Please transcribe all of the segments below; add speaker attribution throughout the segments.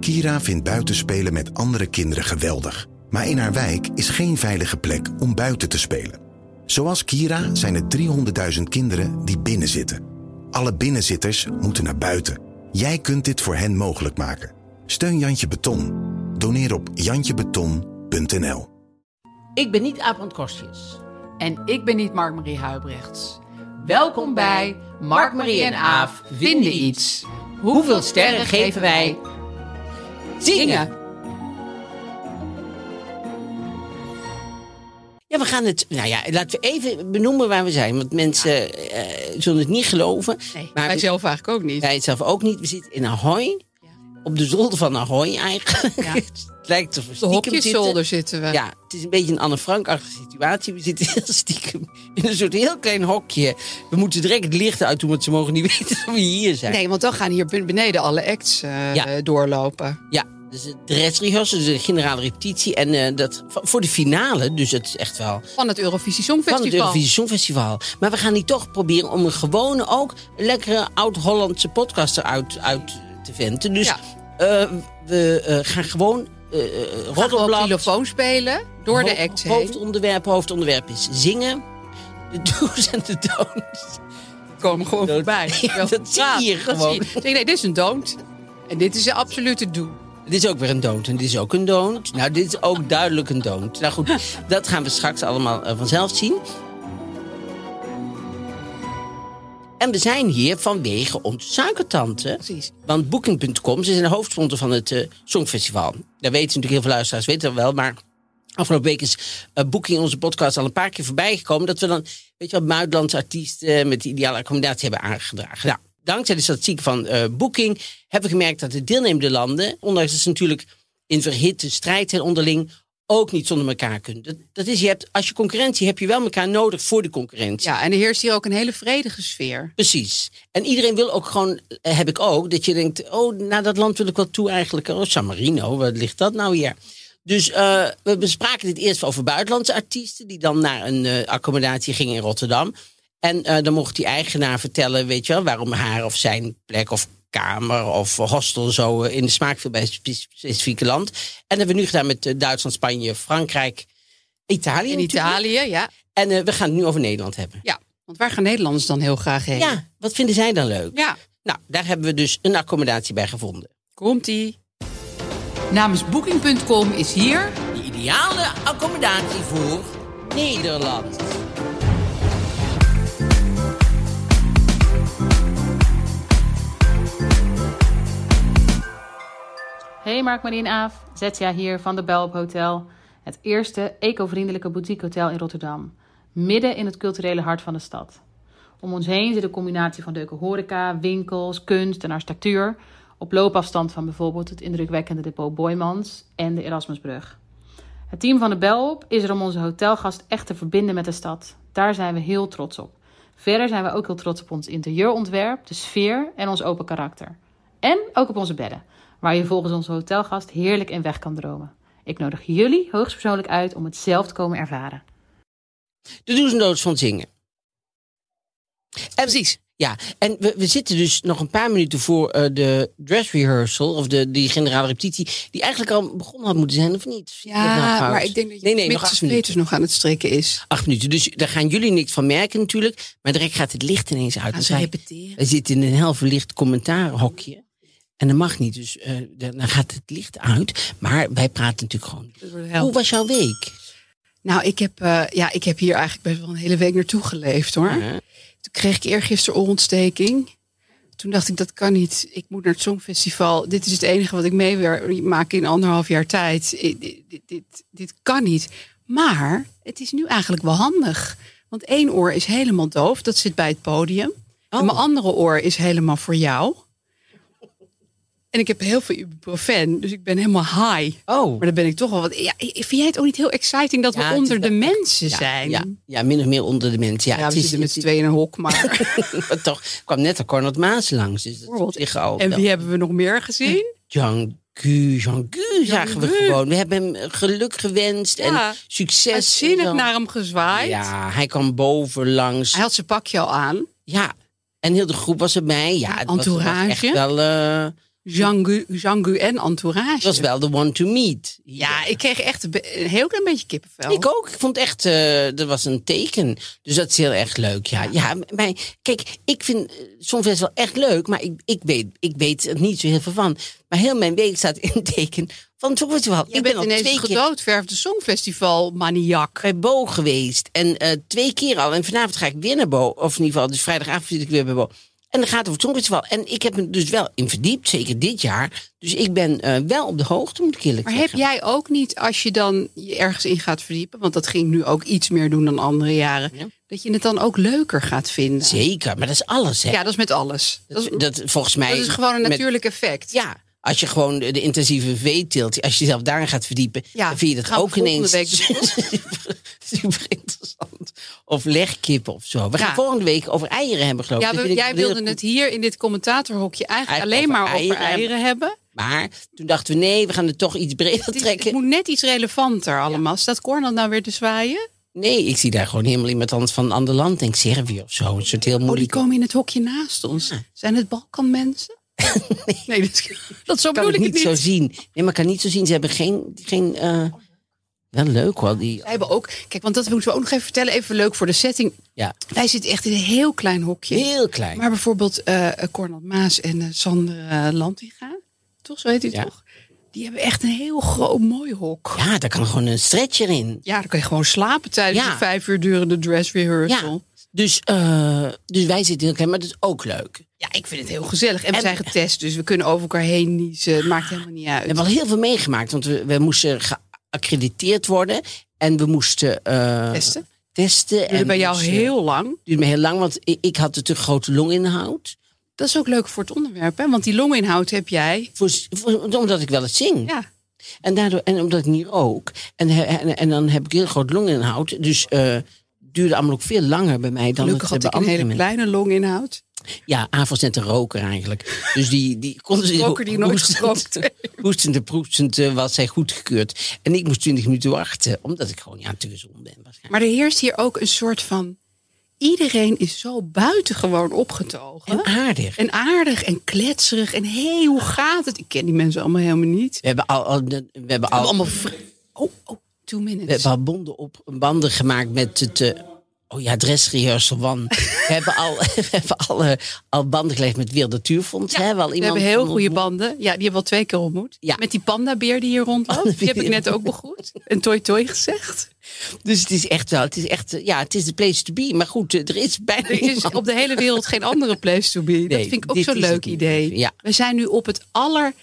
Speaker 1: Kira vindt buitenspelen met andere kinderen geweldig. Maar in haar wijk is geen veilige plek om buiten te spelen. Zoals Kira zijn er 300.000 kinderen die binnenzitten. Alle binnenzitters moeten naar buiten. Jij kunt dit voor hen mogelijk maken. Steun Jantje Beton. Doneer op jantjebeton.nl.
Speaker 2: Ik ben niet Aap van Kostjes.
Speaker 3: En ik ben niet Mark-Marie Huibrechts. Welkom bij Mark-Marie en Aaf vinden iets. Hoeveel sterren geven wij? Zingen!
Speaker 2: Ja, we gaan het. Nou ja, laten we even benoemen waar we zijn. Want mensen eh, zullen het niet geloven.
Speaker 3: Nee,
Speaker 2: maar
Speaker 3: wij
Speaker 2: we-
Speaker 3: zelf eigenlijk ook niet.
Speaker 2: wij het zelf ook niet. We zitten in Ahoy. Op de zolder van Ahoy eigenlijk.
Speaker 3: Ja.
Speaker 2: het lijkt te
Speaker 3: Op de hokjeszolder zitten we.
Speaker 2: Ja, het is een beetje een Anne Frank-achtige situatie. We zitten heel stiekem in een soort heel klein hokje. We moeten direct het licht uit doen, want ze mogen niet weten dat we hier zijn.
Speaker 3: Nee, want dan gaan hier ben- beneden alle acts eh,
Speaker 2: Ja.
Speaker 3: doorlopen.
Speaker 2: Ja, dus de dress rehearsal, dus de generale repetitie. En eh, dat va- voor de finale, dus het is echt wel
Speaker 3: Van het Eurovisie
Speaker 2: van het
Speaker 3: Songfestival.
Speaker 2: Eurovisie Songfestival. Maar we gaan die toch proberen om een gewone, ook lekkere oud-Hollandse podcast eruit uit te venten. Dus
Speaker 3: Ja.
Speaker 2: eh, we eh, gaan gewoon eh eh,
Speaker 3: We gaan gewoon
Speaker 2: roddelblad,
Speaker 3: xylofoon spelen door de
Speaker 2: ho-
Speaker 3: act heen.
Speaker 2: hoofdonderwerp, hoofdonderwerp is zingen. De do's en de don'ts.
Speaker 3: komen gewoon voorbij.
Speaker 2: Ja, dat zie je
Speaker 3: Ja,
Speaker 2: hier gewoon.
Speaker 3: zie je. Zeg, nee, dit is een don't. En dit is een absolute do.
Speaker 2: Dit is ook weer een don't en dit is ook een don't. Nou, dit is ook duidelijk een don't. Nou goed, dat gaan we straks allemaal eh, vanzelf zien. En we zijn hier vanwege onze suikertante.
Speaker 3: Precies.
Speaker 2: Want Booking.com, ze zijn de hoofdsponsor van het eh, Songfestival. Daar weten natuurlijk heel veel luisteraars, weten dat wel. Maar afgelopen week is eh, Booking in onze podcast al een paar keer voorbij gekomen. Dat we dan, weet je wat, buitenlandse artiesten met de ideale accommodatie hebben aangedragen. Nou, dankzij de statistiek van eh, Booking hebben we gemerkt dat de deelnemende landen, ondanks dat ze natuurlijk in verhitte strijd zijn onderling, ook niet zonder elkaar kunnen. Dat, dat is, je hebt, als je concurrentie hebt, heb je wel elkaar nodig voor de concurrentie.
Speaker 3: Ja, en er heerst hier ook een hele vredige sfeer.
Speaker 2: Precies. En iedereen wil ook gewoon, eh, heb ik ook, dat je denkt, oh, naar dat land wil ik wel toe eigenlijk. Oh, San Marino, wat ligt dat nou hier? Dus eh, we bespraken dit eerst over buitenlandse artiesten, die dan naar een eh, accommodatie gingen in Rotterdam. En eh, dan mocht die eigenaar vertellen, weet je wel, waarom haar of zijn plek of kamer of hostel zo eh, in de smaak viel bij een spe- specifieke land. En dat hebben we nu gedaan met eh, Duitsland, Spanje, Frankrijk, Italië.
Speaker 3: In
Speaker 2: natuurlijk.
Speaker 3: Italië, ja.
Speaker 2: En eh, we gaan het nu over Nederland hebben.
Speaker 3: ja. Want waar gaan Nederlanders dan heel graag heen?
Speaker 2: Ja, wat vinden zij dan leuk?
Speaker 3: ja.
Speaker 2: Nou, daar hebben we dus een accommodatie bij gevonden.
Speaker 3: Komt-ie. Namens Booking.com is hier...
Speaker 2: De ideale accommodatie voor Nederland.
Speaker 4: Hey Mark, Marie en Aaf, Zetja hier van de Belp Hotel. Het eerste eco-vriendelijke boutiquehotel in Rotterdam. Midden in het culturele hart van de stad. Om ons heen zit een combinatie van leuke horeca, winkels, kunst en architectuur. Op loopafstand van bijvoorbeeld het indrukwekkende depot Boymans en de Erasmusbrug. Het team van de Belp is er om onze hotelgast echt te verbinden met de stad. Daar zijn we heel trots op. Verder zijn we ook heel trots op ons interieurontwerp, de sfeer en ons open karakter. En ook op onze bedden, waar je volgens onze hotelgast heerlijk in weg kan dromen. Ik nodig jullie hoogstpersoonlijk uit om het zelf te komen ervaren.
Speaker 2: De do's en don'ts van zingen. En,
Speaker 3: Precies.
Speaker 2: Ja, en we, we zitten dus nog een paar minuten voor eh, de dress rehearsal, of de, die generale repetitie, die eigenlijk al begonnen had moeten zijn, of niet? nou Nee, nee, nog acht minuten.
Speaker 3: nog aan het strikken is.
Speaker 2: Acht minuten, dus daar gaan jullie niks van merken natuurlijk, maar direct gaat het licht ineens uit.
Speaker 3: Gaan
Speaker 2: Want
Speaker 3: ze
Speaker 2: wij-
Speaker 3: repeteren?
Speaker 2: We zitten in een heel verlicht commentaarhokje. En dat mag niet, dus eh, dan dan gaat het licht uit. Maar wij praten natuurlijk gewoon. Hoe was jouw week?
Speaker 3: Nou, ik heb, eh, ja, ik heb hier eigenlijk best wel een hele week naartoe geleefd hoor. Toen kreeg ik eergisteren oorontsteking. Toen dacht ik, dat kan niet. Ik moet naar het Songfestival. Dit is het enige wat ik mee maak in anderhalf jaar tijd. I- Dit, dit, dit, dit kan niet. Maar het is nu eigenlijk wel handig. Want één oor is helemaal doof. Dat zit bij het podium. En mijn andere oor is helemaal voor jou. En ik heb heel veel ibuprofen, dus ik ben helemaal high.
Speaker 2: Oh.
Speaker 3: Maar dan ben ik toch wel wat... Ja, vind jij het ook niet heel exciting dat
Speaker 2: Ja,
Speaker 3: we
Speaker 2: het
Speaker 3: onder
Speaker 2: is
Speaker 3: de
Speaker 2: wel-
Speaker 3: mensen
Speaker 2: Ja,
Speaker 3: zijn?
Speaker 2: Ja, ja, min of meer onder de mensen. Ja,
Speaker 3: Ja,
Speaker 2: het
Speaker 3: we
Speaker 2: is-
Speaker 3: zitten met z'n
Speaker 2: het
Speaker 3: tweeën in een hok, maar...
Speaker 2: is- maar toch, er kwam net al Cornel Maas langs. Dus dat is op
Speaker 3: Bijvoorbeeld.
Speaker 2: zich al.
Speaker 3: En
Speaker 2: wel-
Speaker 3: wie hebben we nog meer gezien?
Speaker 2: Jean Gu, Jean Gu zagen we gewoon. We hebben hem geluk gewenst
Speaker 3: Ja.
Speaker 2: en succes. en
Speaker 3: Zinnig
Speaker 2: zo.
Speaker 3: naar hem gezwaaid.
Speaker 2: Ja, hij kwam boven langs.
Speaker 3: Hij had zijn pakje al aan.
Speaker 2: Ja, en heel de groep was erbij. Ja, het was- het was
Speaker 3: Entourage.
Speaker 2: echt wel, eh,
Speaker 3: Jangu, Jangu en entourage.
Speaker 2: het was wel de one to meet.
Speaker 3: Ja, ik kreeg echt een be- een heel klein beetje kippenvel.
Speaker 2: Ik ook. Ik vond echt, eh dat was een teken. Dus dat is heel erg leuk. Ja, ja maar kijk, ik vind eh, Songfest wel echt leuk, maar ik, ik, weet, ik weet er niet zo heel veel van. Maar heel mijn week staat in het teken van het Songfestival.
Speaker 3: Je
Speaker 2: Ik ben
Speaker 3: bent
Speaker 2: al
Speaker 3: ineens
Speaker 2: twee
Speaker 3: een
Speaker 2: keer
Speaker 3: gedoodverfde songfestival maniak.
Speaker 2: bij Bo geweest. En eh, twee keer al. En vanavond ga ik weer naar Bo. Of in ieder geval, dus vrijdagavond zit ik weer bij Bo. En dan gaat het over het Songfestival. En ik heb me dus wel in verdiept, zeker dit jaar. Dus ik ben eh, wel op de hoogte, moet ik eerlijk
Speaker 3: Maar heb
Speaker 2: zeggen.
Speaker 3: jij ook niet, als je dan je ergens in gaat verdiepen, want dat ging nu ook iets meer doen dan andere jaren,
Speaker 2: Ja.
Speaker 3: dat je het dan ook leuker gaat vinden?
Speaker 2: Zeker, maar dat is alles, hè.
Speaker 3: Ja, dat is met alles. Dat is,
Speaker 2: dat, volgens mij...
Speaker 3: dat is gewoon een
Speaker 2: met-
Speaker 3: natuurlijk effect.
Speaker 2: Ja, als je gewoon de de intensieve V-tilt, als je jezelf daarin gaat verdiepen,
Speaker 3: Ja,
Speaker 2: dan vind je dat
Speaker 3: gaan we
Speaker 2: ook
Speaker 3: volgende
Speaker 2: ineens
Speaker 3: week
Speaker 2: super, super interessant. Of legkippen of zo. We gaan
Speaker 3: Ja.
Speaker 2: volgende week over eieren hebben, geloof ik.
Speaker 3: Ja,
Speaker 2: Dat
Speaker 3: we-
Speaker 2: vind ik
Speaker 3: jij
Speaker 2: wel heel
Speaker 3: wilde
Speaker 2: goed.
Speaker 3: het hier in dit commentatorhokje eigenlijk alleen
Speaker 2: Eigenlijk
Speaker 3: maar
Speaker 2: over
Speaker 3: over eieren,
Speaker 2: eieren hebben.
Speaker 3: hebben.
Speaker 2: Maar toen dachten we, nee, we gaan het toch iets breder
Speaker 3: Het, is-
Speaker 2: trekken.
Speaker 3: het moet net iets relevanter allemaal. Staat Cornel nou weer te zwaaien?
Speaker 2: Nee, ik zie daar gewoon helemaal iemand anders van een ander land. Denk Servië of zo. Een soort heel
Speaker 3: Oh, die
Speaker 2: moeilijk.
Speaker 3: komen in het hokje naast ons. Zijn het Balkanmensen? nee, dat, dat zo
Speaker 2: kan
Speaker 3: bedoel
Speaker 2: het
Speaker 3: ik
Speaker 2: niet
Speaker 3: het
Speaker 2: zo
Speaker 3: niet.
Speaker 2: zien. Nee, maar ik kan niet zo zien. Ze hebben geen... geen eh, Wel leuk hoor. Die,
Speaker 3: Wij hebben ook, kijk, want dat moeten we ook nog even vertellen. Even leuk voor de setting.
Speaker 2: ja,
Speaker 3: Wij zitten echt in een heel klein hokje.
Speaker 2: heel klein.
Speaker 3: Maar bijvoorbeeld eh Cornel Maas en eh Sander eh, Lantinga, toch? Zo heet hij
Speaker 2: Ja.
Speaker 3: toch? Die hebben echt een heel groot, mooi hok. Ja,
Speaker 2: Ja, daar kan gewoon een stretcher in.
Speaker 3: dan kan je gewoon slapen tijdens
Speaker 2: Ja.
Speaker 3: de vijf uur durende dress rehearsal.
Speaker 2: Ja.
Speaker 3: Ja.
Speaker 2: Dus, eh, dus wij zitten heel klein, maar dat is ook leuk.
Speaker 3: ik vind het heel gezellig. En, we
Speaker 2: En-
Speaker 3: zijn getest, dus we kunnen over elkaar heen niezen. Het maakt helemaal niet
Speaker 2: We
Speaker 3: uit.
Speaker 2: hebben al heel veel meegemaakt, want we, we moesten geaccrediteerd worden. En we moesten eh,
Speaker 3: Testen.
Speaker 2: testen.
Speaker 3: Duurde
Speaker 2: en dus, eh,
Speaker 3: bij jou
Speaker 2: moesten-
Speaker 3: heel lang.
Speaker 2: duurde me heel lang, want ik, ik had natuurlijk grote longinhoud.
Speaker 3: Dat is ook leuk voor het onderwerp, hè? Want die longinhoud heb jij.
Speaker 2: Voor, voor- omdat ik wel eens zing.
Speaker 3: Ja,
Speaker 2: En, daardoor, en omdat ik niet rook. En, he- en, en dan heb ik heel groot longinhoud. Dus eh duurde allemaal ook veel langer bij mij dan
Speaker 3: gelukkig
Speaker 2: het eh, bij
Speaker 3: had ik
Speaker 2: andere
Speaker 3: een hele
Speaker 2: mensen.
Speaker 3: kleine longinhoud.
Speaker 2: Ja, Aaf was net een roker eigenlijk. Dus die, die kon ze
Speaker 3: Roker die nooit gerookt heeft.
Speaker 2: Hoestend en proestend eh, was hij goedgekeurd. En ik moest 20 minuten wachten, omdat ik gewoon ja, te gezond ben. waarschijnlijk.
Speaker 3: Maar er heerst hier ook een soort van... Iedereen is zo buitengewoon opgetogen.
Speaker 2: En aardig.
Speaker 3: En aardig en kletserig. En hé, hey, hoe gaat het? Ik ken die mensen allemaal helemaal niet.
Speaker 2: We hebben al, al- we hebben al,
Speaker 3: Allemaal vri- Oh, oh, two
Speaker 2: we
Speaker 3: minutes.
Speaker 2: hebben al bonden op banden gemaakt met het. eh, oh ja, dressrehearsal van. we hebben al, we hebben al, eh, al banden gelegd met het Wereld Natuurfonds. hè, wel
Speaker 3: We
Speaker 2: iemand
Speaker 3: hebben heel
Speaker 2: van
Speaker 3: goede
Speaker 2: ontmoet.
Speaker 3: banden. Ja, die hebben we al twee keer ontmoet.
Speaker 2: Ja.
Speaker 3: Met die pandabeer die hier rondloopt. Die heb ik net ook begroet. En toi toi gezegd.
Speaker 2: Dus het is echt wel, het is echt, eh, ja, het is de place to be. Maar goed, eh, er is bijna
Speaker 3: Er is
Speaker 2: niemand.
Speaker 3: op de hele wereld geen andere place to be. dat vind ik ook
Speaker 2: dit
Speaker 3: zo'n
Speaker 2: is het
Speaker 3: leuk
Speaker 2: niet.
Speaker 3: idee.
Speaker 2: Ja.
Speaker 3: We zijn nu op het aller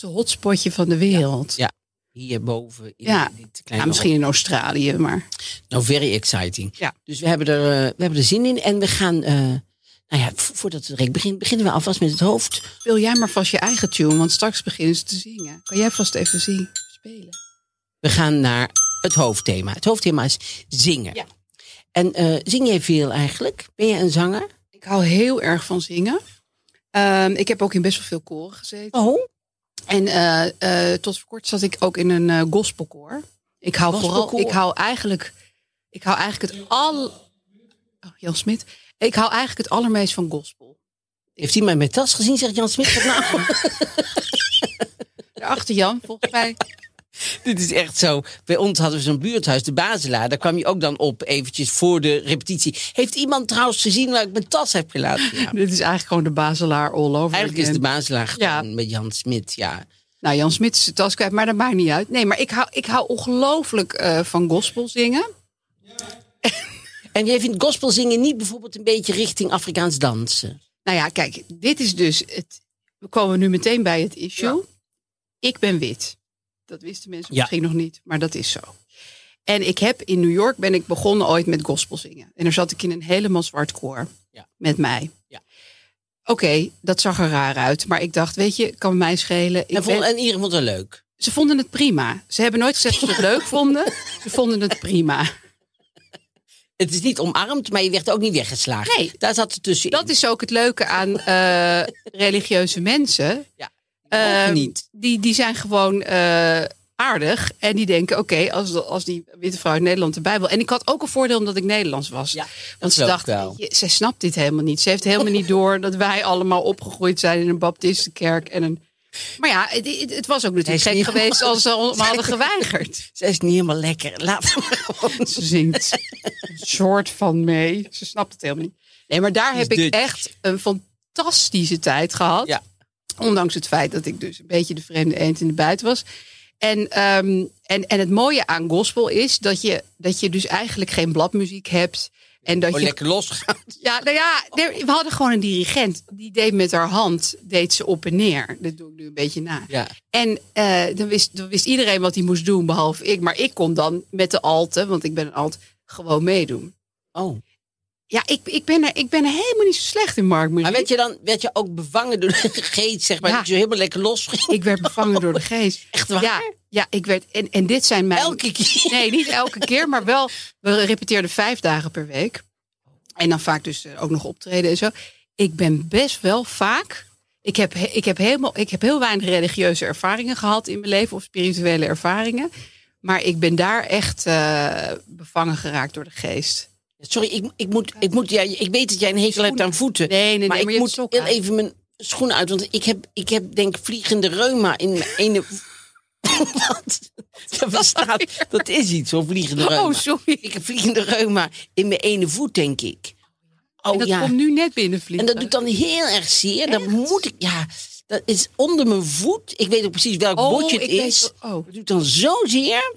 Speaker 3: hotspotje van de wereld.
Speaker 2: Ja. Hierboven in
Speaker 3: Ja.
Speaker 2: dit kleine
Speaker 3: Ja, misschien in Australië, maar...
Speaker 2: Nou, very exciting.
Speaker 3: Ja.
Speaker 2: Dus we hebben, er, eh, we hebben er zin in. En we gaan, eh, nou ja, vo- voordat het rek begint, beginnen we alvast met het hoofd.
Speaker 3: Speel jij maar vast je eigen tune, want straks beginnen ze te zingen. Kan jij vast even zingen, spelen?
Speaker 2: We gaan naar het hoofdthema. Het hoofdthema is zingen.
Speaker 3: Ja.
Speaker 2: En eh, zing jij veel eigenlijk? Ben je een zanger?
Speaker 3: Ik hou heel erg van zingen. Ehm, ik heb ook in best wel veel koren gezeten.
Speaker 2: Oh.
Speaker 3: En eh, eh, tot voor kort zat ik ook in een eh, gospelkoor. Ik hou vooral,
Speaker 2: Gospelkoor.
Speaker 3: ik hou eigenlijk, ik hou eigenlijk het al. Oh, Jan Smit. Ik hou eigenlijk het allermeest van gospel.
Speaker 2: Heeft hij mij met tas gezien, zegt Jan Smit. Wat Nou,
Speaker 3: Daarachter Jan, volgens mij.
Speaker 2: dit is echt zo. Bij ons hadden we zo'n buurthuis, de Bazelaar. Daar kwam je ook dan op, eventjes voor de repetitie. Heeft iemand trouwens gezien waar ik mijn tas heb gelaten? Ja.
Speaker 3: Dit is eigenlijk gewoon de Bazelaar all over.
Speaker 2: Eigenlijk is de
Speaker 3: again.
Speaker 2: Bazelaar
Speaker 3: Ja.
Speaker 2: gewoon met Jan Smit, ja.
Speaker 3: Nou, Jan Smit is de tas kwijt, maar dat maakt niet uit. Nee, maar ik hou, ik hou ongelooflijk eh, van gospel zingen.
Speaker 2: En jij vindt gospel zingen niet bijvoorbeeld een beetje richting Afrikaans dansen?
Speaker 3: Nou ja, kijk, dit is dus het. We komen nu meteen bij het issue. Ik ben wit. Dat wisten mensen
Speaker 2: Ja.
Speaker 3: misschien nog niet, maar dat is zo. En ik heb in New York ben ik begonnen ooit met gospel zingen. En daar zat ik in een helemaal zwart koor
Speaker 2: Ja.
Speaker 3: met mij.
Speaker 2: Ja.
Speaker 3: Oké, dat zag er raar uit. Maar ik dacht, weet je, kan mij schelen. Ik
Speaker 2: En, vond,
Speaker 3: ben-
Speaker 2: en iedereen vond het leuk.
Speaker 3: Ze vonden het prima. Ze hebben nooit gezegd dat ze het leuk vonden. Ze vonden het prima.
Speaker 2: Het is niet omarmd, maar je werd ook niet weggeslagen.
Speaker 3: Nee.
Speaker 2: Daar zat het tussen.
Speaker 3: Dat is ook het leuke aan eh, religieuze mensen.
Speaker 2: Ja,
Speaker 3: Eh,
Speaker 2: ook niet.
Speaker 3: Die, die zijn gewoon eh, aardig. En die denken, oké, als, als die witte vrouw in Nederland de Bijbel... En ik had ook een voordeel omdat ik Nederlands was.
Speaker 2: Ja, dat
Speaker 3: Want ze
Speaker 2: is ook
Speaker 3: dacht,
Speaker 2: wel.
Speaker 3: weet je, zij snapt dit helemaal niet. Ze heeft helemaal niet door dat wij allemaal opgegroeid zijn... in een baptistenkerk en een... Maar ja, het, het- het was ook natuurlijk
Speaker 2: Hij
Speaker 3: gek
Speaker 2: is niet-
Speaker 3: geweest als ze ons hadden geweigerd.
Speaker 2: Ze is niet helemaal lekker. Laat hem maar gewoon.
Speaker 3: Ze zingt een soort van mee. Ze snapt het helemaal niet. Nee, maar daar
Speaker 2: Ze
Speaker 3: heb
Speaker 2: is
Speaker 3: ik
Speaker 2: Dutch.
Speaker 3: echt een fantastische tijd gehad.
Speaker 2: Ja.
Speaker 3: Ondanks het feit dat ik dus een beetje de vreemde eend in de buiten was. En, ehm, en, en het mooie aan gospel is dat je, dat je dus eigenlijk geen bladmuziek hebt. En dat
Speaker 2: Oh,
Speaker 3: je,
Speaker 2: lekker losgaan.
Speaker 3: ja, nou ja, nee, we hadden gewoon een dirigent. Die deed met haar hand, deed ze op en neer. Dat doe ik nu een beetje na.
Speaker 2: Ja.
Speaker 3: En eh, dan, wist, dan wist iedereen wat hij moest doen, behalve ik. Maar ik kon dan met de alten, want ik ben een alt, gewoon meedoen.
Speaker 2: Oh.
Speaker 3: Ja, ik, ik, ben, er, ik ben er helemaal niet zo slecht in marktmuziek.
Speaker 2: Maar werd je dan werd je ook bevangen door de geest, zeg maar,
Speaker 3: Ja.
Speaker 2: dat je helemaal lekker losging?
Speaker 3: Ik werd bevangen door de geest.
Speaker 2: Echt waar?
Speaker 3: Ja, ja ik werd, en, en dit zijn mijn...
Speaker 2: Elke keer.
Speaker 3: Nee, niet elke keer, maar wel. We repeteerden vijf dagen per week. En dan vaak dus eh, ook nog optreden en zo. Ik ben best wel vaak. Ik heb, he- ik heb, helemaal, ik heb heel weinig religieuze ervaringen gehad in mijn leven, of spirituele ervaringen. Maar ik ben daar echt eh, bevangen geraakt door de geest.
Speaker 2: Sorry, ik, ik, moet, ik, moet, ja, ik weet dat jij een hekel hebt aan voeten.
Speaker 3: Nee, nee,
Speaker 2: maar
Speaker 3: nee, maar
Speaker 2: ik
Speaker 3: je
Speaker 2: moet
Speaker 3: hebt sokken
Speaker 2: heel even mijn schoen uit. Want ik heb, ik heb denk vliegende reuma in mijn ene... Wat? Dat, bestaat, dat is iets, zo'n vliegende reuma.
Speaker 3: Oh, sorry.
Speaker 2: Ik heb vliegende reuma in mijn ene voet, denk ik. Oh
Speaker 3: en dat
Speaker 2: ja.
Speaker 3: komt nu net binnen Oh,
Speaker 2: En
Speaker 3: vliegen.
Speaker 2: dat doet dan heel erg zeer. Dan moet ik, ja, dat is onder mijn voet. Ik weet ook precies welk
Speaker 3: Oh,
Speaker 2: botje het
Speaker 3: ik weet
Speaker 2: is.
Speaker 3: wel- oh.
Speaker 2: Dat doet dan zo zeer.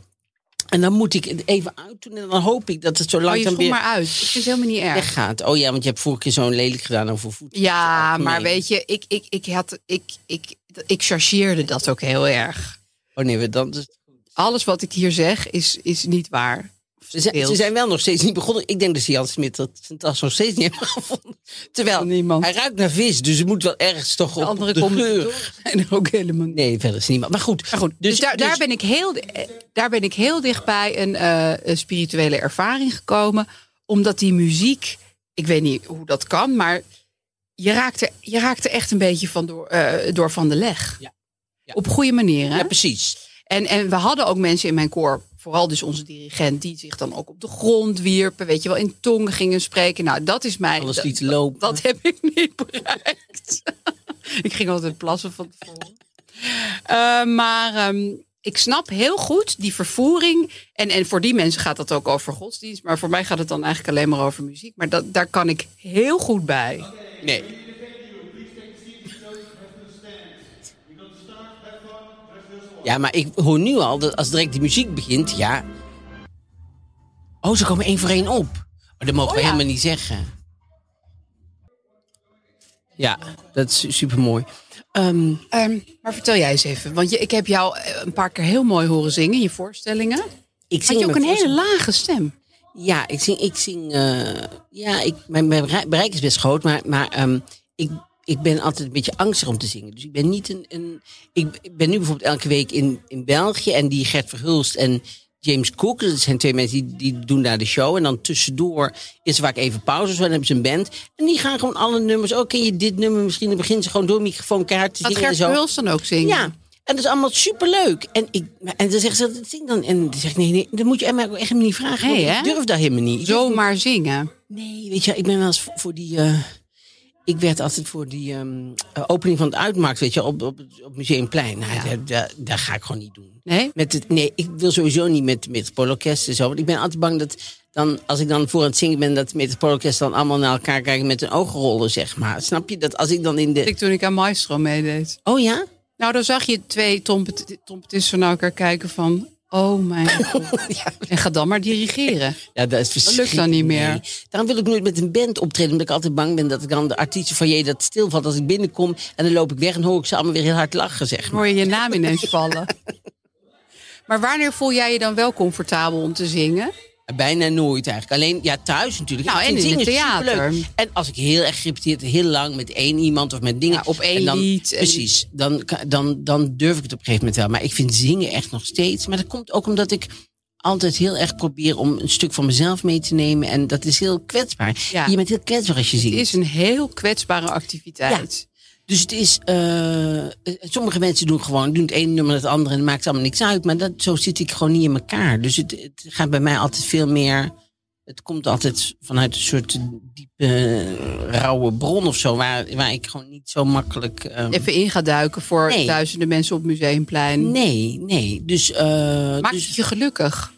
Speaker 2: En dan moet ik het even uitdoen. En dan hoop ik dat het zo
Speaker 3: Oh, je
Speaker 2: langzaam
Speaker 3: schoen
Speaker 2: weer
Speaker 3: maar uit. Het is helemaal niet erg.
Speaker 2: weggaat. Oh ja, want je hebt vorige keer zo'n lelijk gedaan over voeten.
Speaker 3: Ja,
Speaker 2: Nee.
Speaker 3: maar weet je, ik, ik, ik, had, ik, ik, ik chargeerde dat ook heel erg.
Speaker 2: Oh nee, we- dan, ze,
Speaker 3: alles wat ik hier zeg is, is niet waar. Of
Speaker 2: zijn, ze
Speaker 3: verdeeld.
Speaker 2: zijn wel nog steeds niet begonnen. Ik denk dat ze Jan Smit dat zijn tas nog steeds niet hebben gevonden. Terwijl,
Speaker 3: Van Oh, niemand.
Speaker 2: hij ruikt naar vis. Dus het moet wel ergens toch
Speaker 3: de
Speaker 2: op
Speaker 3: andere
Speaker 2: de
Speaker 3: komt
Speaker 2: geur.
Speaker 3: en ook helemaal niet.
Speaker 2: Nee, verder is niemand. Maar goed.
Speaker 3: Maar goed, dus, daar, daar, ben ik heel, eh, daar ben ik heel dichtbij een eh, een spirituele ervaring gekomen. Omdat die muziek, ik weet niet hoe dat kan, maar je raakt er, je raakt er echt een beetje van door, eh, door van de leg.
Speaker 2: Ja. Ja.
Speaker 3: Op goede manier. Hè?
Speaker 2: Ja, precies.
Speaker 3: En, en we hadden ook mensen in mijn koor, vooral dus onze dirigent, die zich dan ook op de grond wierpen, weet je wel, in tongen gingen spreken. Nou, dat is mij.
Speaker 2: Alles
Speaker 3: dat-
Speaker 2: liet lopen.
Speaker 3: Dat heb ik niet bereikt. ik ging altijd plassen van tevoren. Eh, maar ehm, ik snap heel goed die vervoering. En, en voor die mensen gaat dat ook over godsdienst. Maar voor mij gaat het dan eigenlijk alleen maar over muziek. Maar dat, daar kan ik heel goed bij.
Speaker 2: Nee. Ja, maar ik hoor nu al dat als direct die muziek begint, ja. Oh, ze komen één voor één op. Maar dat mogen we
Speaker 3: Oh ja.
Speaker 2: helemaal niet zeggen. Ja, dat is super mooi.
Speaker 3: Ehm, maar vertel jij eens even. Want je, ik heb jou eh, een paar keer heel mooi horen zingen in je voorstellingen.
Speaker 2: Ik
Speaker 3: Had je ook
Speaker 2: met
Speaker 3: een hele
Speaker 2: voorzet-
Speaker 3: lage stem.
Speaker 2: Ja, ik zing. Ik zing eh, ja, ik, mijn, mijn bereik- bereik is best groot, maar, maar ehm, ik, ik ben altijd een beetje angstig om te zingen. Dus ik ben niet een. een ik, ik ben nu bijvoorbeeld elke week in, in België en die Gert Verhulst en James Cook, dat zijn twee mensen die, die doen daar de show. En dan tussendoor is er vaak even pauze, zo, dan hebben ze een band. En die gaan gewoon alle nummers. Oh, ken je dit nummer misschien? Dan beginnen ze gewoon door microfoon keihard te
Speaker 3: Gaat
Speaker 2: zingen. en
Speaker 3: Gert
Speaker 2: zo.
Speaker 3: Peuls dan ook zingen?
Speaker 2: Ja, en dat is allemaal superleuk. En, ik, en dan zegt ze, dat zing dan. En dan zeg ik, nee, nee, dat moet je mij ook echt helemaal niet vragen.
Speaker 3: Nee,
Speaker 2: want
Speaker 3: hè?
Speaker 2: ik durf daar helemaal niet. Ik durf
Speaker 3: Zomaar zingen.
Speaker 2: Nee, weet je, ik ben wel eens voor, voor die. eh, ik werd altijd voor die ehm, eh, opening van het uitmarkt, weet je, op, op, het- op Museumplein. Nou, daar, daar, daar ga ik gewoon niet doen.
Speaker 3: Nee?
Speaker 2: Met het, nee, ik wil sowieso niet met, met het Polorkest en zo. Want ik ben altijd bang dat dan, als ik dan voor aan het zingen ben, dat met het Polorkest dan allemaal naar elkaar kijken met hun ogen rollen, zeg maar. Snap je dat als ik dan in de.
Speaker 3: Ik toen ik aan Maestro meedeed.
Speaker 2: Oh ja?
Speaker 3: Nou, dan zag je twee trompet- trompetisten naar elkaar kijken van... Oh mijn god. En ga dan maar dirigeren.
Speaker 2: Ja, dat is
Speaker 3: lukt dan
Speaker 2: verschrikkelijk.
Speaker 3: niet meer.
Speaker 2: Nee. Daarom wil ik nooit met een band optreden. Omdat ik altijd bang ben dat ik dan de artiesten van je dat stilvalt als ik binnenkom. En dan loop ik weg en hoor ik ze allemaal weer heel hard lachen, zeg
Speaker 3: Dan
Speaker 2: maar.
Speaker 3: hoor je je naam ineens vallen. Maar wanneer voel jij je dan wel comfortabel om te zingen?
Speaker 2: Bijna nooit eigenlijk. Alleen ja, thuis natuurlijk.
Speaker 3: Nou,
Speaker 2: Ik
Speaker 3: en
Speaker 2: vind
Speaker 3: in het
Speaker 2: zingen
Speaker 3: theater.
Speaker 2: superleuk. En als ik heel erg gerepeteerd, heel lang met één iemand of met dingen.
Speaker 3: Ja, op één
Speaker 2: en dan,
Speaker 3: lied en-
Speaker 2: Precies. Dan, ka- dan, dan durf ik het op een gegeven moment wel. Maar ik vind zingen echt nog steeds. Maar dat komt ook omdat ik altijd heel erg probeer om een stuk van mezelf mee te nemen. En dat is heel kwetsbaar.
Speaker 3: Ja.
Speaker 2: Je bent heel kwetsbaar als je
Speaker 3: Het
Speaker 2: zingt.
Speaker 3: is een heel kwetsbare activiteit.
Speaker 2: Dus het is. eh, eh, sommige mensen doen gewoon doen het ene nummer het andere en het maakt allemaal niks uit. Maar dat, zo zit ik gewoon niet in elkaar. Dus het, het gaat bij mij altijd veel meer. Het komt altijd vanuit een soort diepe, eh, rauwe bron of zo. Waar, waar ik gewoon niet zo makkelijk. eh,
Speaker 3: Even in gaat duiken voor
Speaker 2: Nee.
Speaker 3: duizenden mensen op Museumplein.
Speaker 2: nee, nee. Dus, eh,
Speaker 3: Maakt
Speaker 2: dus
Speaker 3: het je gelukkig?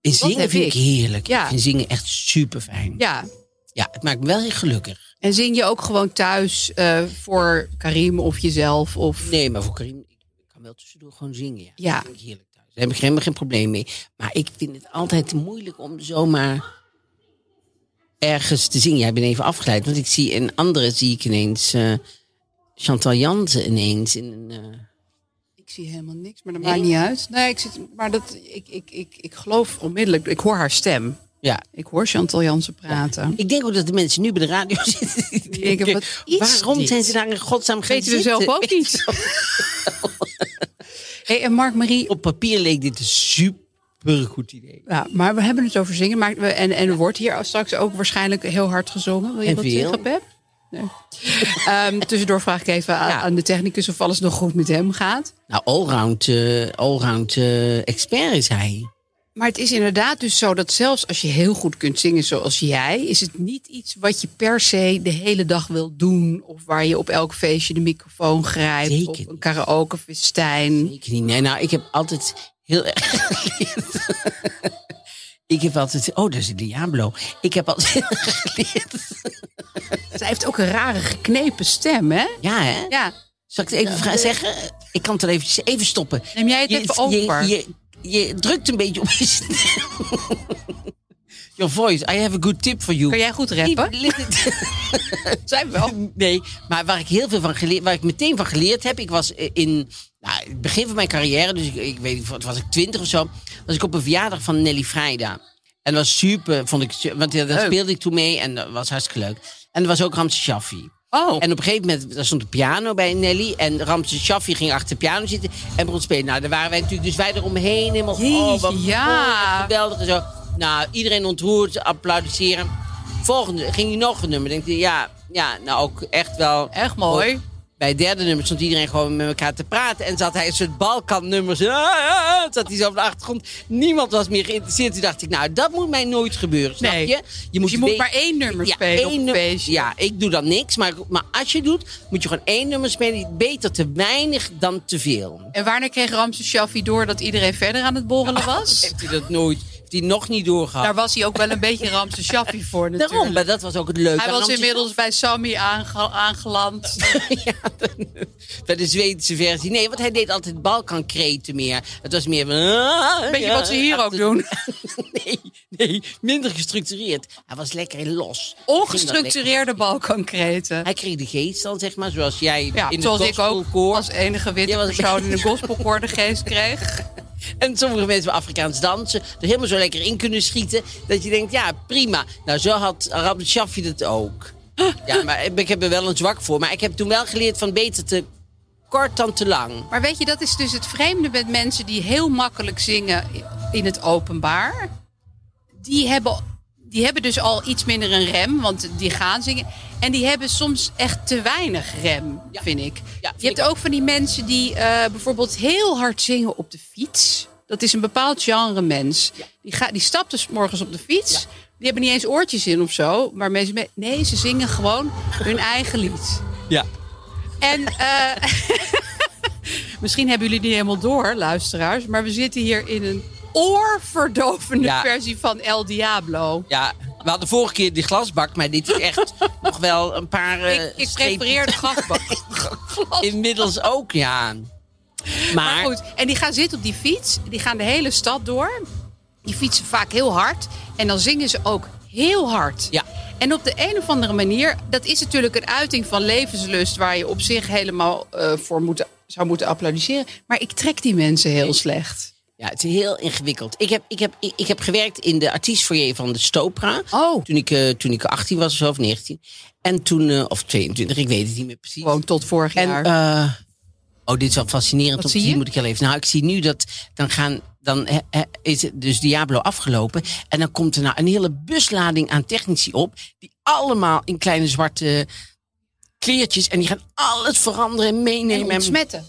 Speaker 2: in
Speaker 3: wat
Speaker 2: zingen
Speaker 3: heb
Speaker 2: vind ik
Speaker 3: ik?
Speaker 2: heerlijk.
Speaker 3: Ja.
Speaker 2: Ik vind zingen echt super fijn. Ja.
Speaker 3: Ja.
Speaker 2: het maakt me wel heel gelukkig.
Speaker 3: En zing je ook gewoon thuis eh, voor Karim of jezelf? Of...
Speaker 2: Nee, maar voor Karim, ik kan wel tussendoor gewoon zingen. Ja.
Speaker 3: Ja.
Speaker 2: Dat vind ik heerlijk thuis. Daar heb ik helemaal geen probleem mee. Maar ik vind het altijd moeilijk om zomaar ergens te zingen. Jij bent even afgeleid, want ik zie in anderen zie ik ineens eh, Chantal Jansen ineens in een. eh,
Speaker 3: Ik zie helemaal niks, maar dat
Speaker 2: Nee?
Speaker 3: maakt niet uit. Nee, ik, zit, maar dat, ik, ik, ik, ik geloof onmiddellijk. Ik hoor haar stem.
Speaker 2: ja.
Speaker 3: Ik hoor Chantal Jansen praten.
Speaker 2: Ik denk ook dat de mensen nu bij de radio zitten. die
Speaker 3: denken,
Speaker 2: denken,
Speaker 3: wat is
Speaker 2: waarom
Speaker 3: dit?
Speaker 2: zijn ze daar in godsnaam gaan
Speaker 3: Weten we zelf
Speaker 2: zitten?
Speaker 3: ook niet. hey, en Mark-Marie,
Speaker 2: Op papier leek dit een super goed idee.
Speaker 3: Ja, maar we hebben het over zingen. Maar we, en, en er wordt hier straks ook waarschijnlijk heel hard gezongen. Wil je
Speaker 2: En
Speaker 3: wat
Speaker 2: veel.
Speaker 3: zeggen, Pep? Nee. Ehm, tussendoor vraag ik even aan,
Speaker 2: Ja.
Speaker 3: aan de technicus of alles nog goed met hem gaat.
Speaker 2: Nou, allround, eh allround eh, expert is hij.
Speaker 3: Maar het is inderdaad dus zo dat zelfs als je heel goed kunt zingen zoals jij... is het niet iets wat je per se de hele dag wil doen... of waar je op elk feestje de microfoon grijpt...
Speaker 2: Zeker
Speaker 3: op
Speaker 2: niet.
Speaker 3: een karaokefestijn.
Speaker 2: Ik niet. Nee, nou, ik heb altijd heel erg geleerd. ik heb altijd. Oh, daar zit Diablo. Ik heb altijd heel erg geleerd.
Speaker 3: Zij heeft ook een rare geknepen stem, hè?
Speaker 2: Ja, hè?
Speaker 3: Ja.
Speaker 2: Zal ik het even vra- zeggen? Ik kan het wel even, even stoppen.
Speaker 3: Neem jij het even over?
Speaker 2: Je, je, je drukt een beetje op je stem. Your voice. I have a good tip for you.
Speaker 3: Kan jij goed rappen?
Speaker 2: Zijn wel. Nee, maar waar ik heel veel van geleerd, waar ik meteen van geleerd heb, ik was eh, in nou, het begin van mijn carrière, dus ik, ik weet niet, wat was ik twintig of zo, was ik op een verjaardag van Nelly Vrijda. En dat was super, vond ik, su- want ja, daar speelde ik toen mee en dat was hartstikke leuk. En er was ook Ramse Shaffi.
Speaker 3: Oh.
Speaker 2: En op een gegeven moment daar stond een piano bij Nelly. En Ramse Shaffi ging achter de piano zitten en begon te spelen. Nou, daar waren wij natuurlijk, dus wij eromheen. Helemaal, oh, wat
Speaker 3: Jeetje, ja.
Speaker 2: geweldig en zo. Nou, iedereen ontroerd, applaudisseren. Volgende, ging hij nog een nummer. Denk je, ja, ja, nou ook echt wel.
Speaker 3: Echt mooi.
Speaker 2: Bij het derde nummer stond iedereen gewoon met elkaar te praten. En zat hij een soort balkannummers. Ah, ah, ah, zat hij zo op de achtergrond. Niemand was meer geïnteresseerd. Toen dacht ik, nou, dat moet mij nooit gebeuren, snap
Speaker 3: Nee. Dus
Speaker 2: je?
Speaker 3: Je moet,
Speaker 2: een
Speaker 3: moet
Speaker 2: beetje-
Speaker 3: maar één nummer spelen op
Speaker 2: één
Speaker 3: een
Speaker 2: nummer-
Speaker 3: feestje.
Speaker 2: Ja, ik doe dan niks. Maar, maar als je doet, moet je gewoon één nummer spelen. Beter te weinig dan te veel.
Speaker 3: En wanneer kreeg Ramses Shaffi door dat iedereen verder aan het borrelen was?
Speaker 2: Heeft hij dat nooit, heeft hij nog niet doorgehad.
Speaker 3: Daar was hij ook wel een beetje Ramses Shaffi voor natuurlijk.
Speaker 2: Daarom, maar dat was ook het leuke.
Speaker 3: Hij
Speaker 2: aan
Speaker 3: was
Speaker 2: Amsterdam.
Speaker 3: inmiddels bij Sammy aange- aangeland.
Speaker 2: ja, bij de Zweedse versie. Nee, want hij deed altijd balkankreten meer. Het was meer van... ah,
Speaker 3: Beetje wat ze hier ook doen.
Speaker 2: nee, nee, minder gestructureerd. Hij was lekker los.
Speaker 3: Ongestructureerde balkankreten.
Speaker 2: Hij kreeg de geest dan, zeg maar, zoals jij
Speaker 3: Ja,
Speaker 2: in
Speaker 3: zoals
Speaker 2: de
Speaker 3: ik ook
Speaker 2: gospelkoor.
Speaker 3: als enige witte
Speaker 2: Jij was-
Speaker 3: persoon in de gospelkoor de geest kreeg.
Speaker 2: En sommige mensen bij Afrikaans dansen er helemaal zo lekker in kunnen schieten. Dat je denkt, ja, prima. Nou, zo had Ramshafi Shaffi dat ook. Ja, maar ik heb er wel een zwak voor. Maar ik heb toen wel geleerd van beter te kort dan te lang.
Speaker 3: Maar weet je, dat is dus het vreemde met mensen die heel makkelijk zingen in het openbaar. Die hebben, die hebben dus al iets minder een rem, want die gaan zingen. En die hebben soms echt te weinig rem,
Speaker 2: Ja.
Speaker 3: vind ik.
Speaker 2: vind
Speaker 3: je hebt
Speaker 2: ik
Speaker 3: ook van die mensen die eh, bijvoorbeeld heel hard zingen op de fiets. Dat is een bepaald genre mens. Die, gaat, die stapt dus morgens op de fiets. Die hebben niet eens oortjes in of zo. Maar mensen, met- nee, ze zingen gewoon hun eigen lied.
Speaker 2: Ja.
Speaker 3: En eh, misschien hebben jullie niet helemaal door, luisteraars. Maar we zitten hier in een oorverdovende
Speaker 2: Ja.
Speaker 3: versie van El Diablo.
Speaker 2: Ja, we hadden vorige keer die glasbak, maar dit is echt nog wel een paar. eh,
Speaker 3: ik, ik
Speaker 2: streepjes.
Speaker 3: prefereer de gasbak.
Speaker 2: Inmiddels ook, ja. Maar,
Speaker 3: Maar goed, en die gaan zitten op die fiets. Die gaan de hele stad door. Die fietsen vaak heel hard. En dan zingen ze ook heel hard.
Speaker 2: Ja.
Speaker 3: En op de een of andere manier, dat is natuurlijk een uiting van levenslust... waar je op zich helemaal eh, voor moet, zou moeten applaudisseren. Maar ik trek die mensen heel slecht.
Speaker 2: Ja, het is heel ingewikkeld. Ik heb, ik heb, ik, ik heb gewerkt in de artiestfoyer van de Stopra.
Speaker 3: Oh.
Speaker 2: Toen ik, eh, toen ik 18 was of zo, of 19. En toen, eh, of 22, ik weet het niet meer precies.
Speaker 3: Gewoon tot vorig
Speaker 2: en,
Speaker 3: jaar.
Speaker 2: eh, oh, dit is wel fascinerend
Speaker 3: Wat
Speaker 2: om te
Speaker 3: zie
Speaker 2: zien,
Speaker 3: je?
Speaker 2: moet ik al even. Nou, ik zie nu dat, dan gaan, dan eh, eh, is het dus Diablo afgelopen. En dan komt er nou een hele buslading aan technici op. Die allemaal in kleine zwarte kleertjes. En die gaan alles veranderen en meenemen.
Speaker 3: en ontsmetten.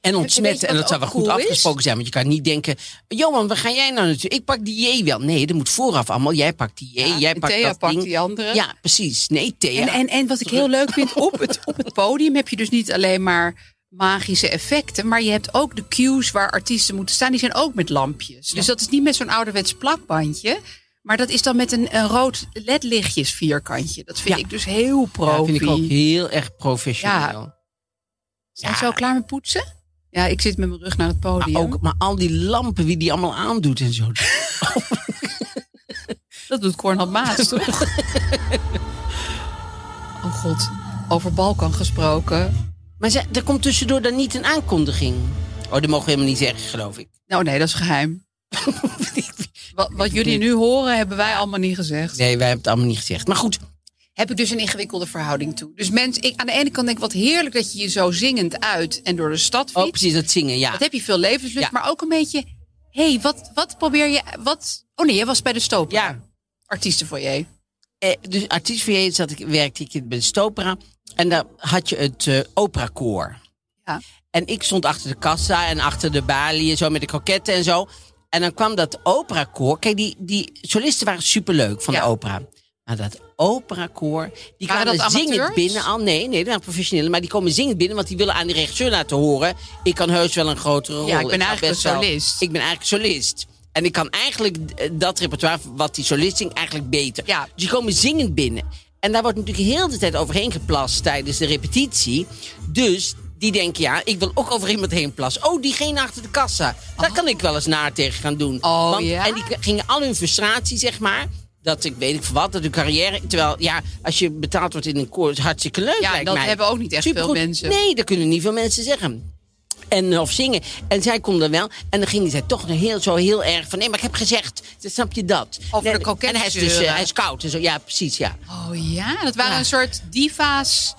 Speaker 2: En
Speaker 3: Weet
Speaker 2: ontsmetten.
Speaker 3: je
Speaker 2: En dat
Speaker 3: wat
Speaker 2: zou wel
Speaker 3: ook
Speaker 2: goed
Speaker 3: cool is?
Speaker 2: afgesproken zijn. Want je kan niet denken... Johan, waar ga jij nou naartoe? Ik pak die J wel. Nee, dat moet vooraf allemaal. Jij pakt die J, jij
Speaker 3: en
Speaker 2: pakt
Speaker 3: Thea
Speaker 2: dat
Speaker 3: pakt
Speaker 2: ding.
Speaker 3: die andere.
Speaker 2: Ja, precies. Nee, Thea.
Speaker 3: En, en, en wat ik heel leuk vind, op het, op het podium heb je dus niet alleen maar magische effecten, maar je hebt ook de cues waar artiesten moeten staan, die zijn ook met lampjes. Dus dat is niet met zo'n ouderwets plakbandje, maar dat is dan met een, een rood ledlichtjes vierkantje. Dat vind
Speaker 2: Ja.
Speaker 3: ik dus heel
Speaker 2: Ja,
Speaker 3: profi.
Speaker 2: vind ik ook heel erg professioneel.
Speaker 3: Zijn ze al klaar met poetsen? Ja, ik zit met mijn rug naar het podium.
Speaker 2: Maar, ook, maar al die lampen, wie die allemaal aandoet en zo.
Speaker 3: Dat doet Cornel Maas, toch? oh god, over Balkan gesproken.
Speaker 2: Maar ze, er komt tussendoor dan niet een aankondiging. Oh, dat mogen we helemaal niet zeggen, geloof ik.
Speaker 3: Nou nee, dat is geheim. Wat, wat jullie nu horen, hebben wij allemaal niet gezegd.
Speaker 2: Nee, wij hebben het allemaal niet gezegd. Maar goed,
Speaker 3: Heb ik dus een ingewikkelde verhouding toe. Dus mensen, ik, aan de ene kant denk ik, wat heerlijk dat je je zo zingend uit en door de stad
Speaker 2: oh,
Speaker 3: fietst.
Speaker 2: precies, dat zingen, ja.
Speaker 3: dat heb je veel levenslust,
Speaker 2: Ja.
Speaker 3: maar ook een beetje... Hé, hey, wat, wat probeer je... Wat, oh nee, jij was bij de stoop.
Speaker 2: Ja.
Speaker 3: Artiesten voor je.
Speaker 2: Eh, dus artiest voor je zat ik, werkte ik bij de Stopera. En daar had je het eh opera koor.
Speaker 3: Ja.
Speaker 2: En ik stond achter de kassa en achter de balie en zo met de kroketten en zo. En dan kwam dat operakoor. Kijk, die, die solisten waren superleuk van de
Speaker 3: Ja.
Speaker 2: opera. Maar dat operakoor, die
Speaker 3: Waren
Speaker 2: kwamen
Speaker 3: dat
Speaker 2: zingend
Speaker 3: amateurs?
Speaker 2: binnen. Al, nee, nee, dat waren professionele. Maar die komen zingend binnen, want die willen aan de regisseur laten horen... ik kan heus wel een grotere rol.
Speaker 3: ik ben
Speaker 2: zou
Speaker 3: eigenlijk
Speaker 2: best
Speaker 3: een
Speaker 2: wel-
Speaker 3: solist.
Speaker 2: ik ben eigenlijk solist. En ik kan eigenlijk eh, dat repertoire, wat die solist zingt, eigenlijk beter.
Speaker 3: Ja.
Speaker 2: Dus die komen zingend binnen. En daar wordt natuurlijk heel de tijd overheen geplast tijdens de repetitie. Dus die denken, ja, ik wil ook over iemand heen plassen. Oh, diegene achter de kassa. Daar kan ik wel eens naar tegen gaan doen.
Speaker 3: Oh, ja?
Speaker 2: En die k- gingen al hun frustratie, zeg maar... Dat ik weet ik voor wat, dat hun carrière. Terwijl, ja, als je betaald wordt in een koor, is hartstikke leuk.
Speaker 3: Ja,
Speaker 2: lijkt
Speaker 3: dat
Speaker 2: mij.
Speaker 3: hebben ook niet echt veel
Speaker 2: Supergoed.
Speaker 3: mensen.
Speaker 2: Nee, dat kunnen niet veel mensen zeggen. En, eh, of zingen. En zij kon dan wel. En dan ging zij toch nog heel, zo heel erg van... Nee, maar ik heb gezegd. Dus Snap je dat?
Speaker 3: Over de
Speaker 2: Nee,
Speaker 3: kroketten
Speaker 2: En hij is, dus, eh,
Speaker 3: zeuren.
Speaker 2: hij is koud en zo. Ja, precies, ja.
Speaker 3: Oh ja, dat waren een soort diva's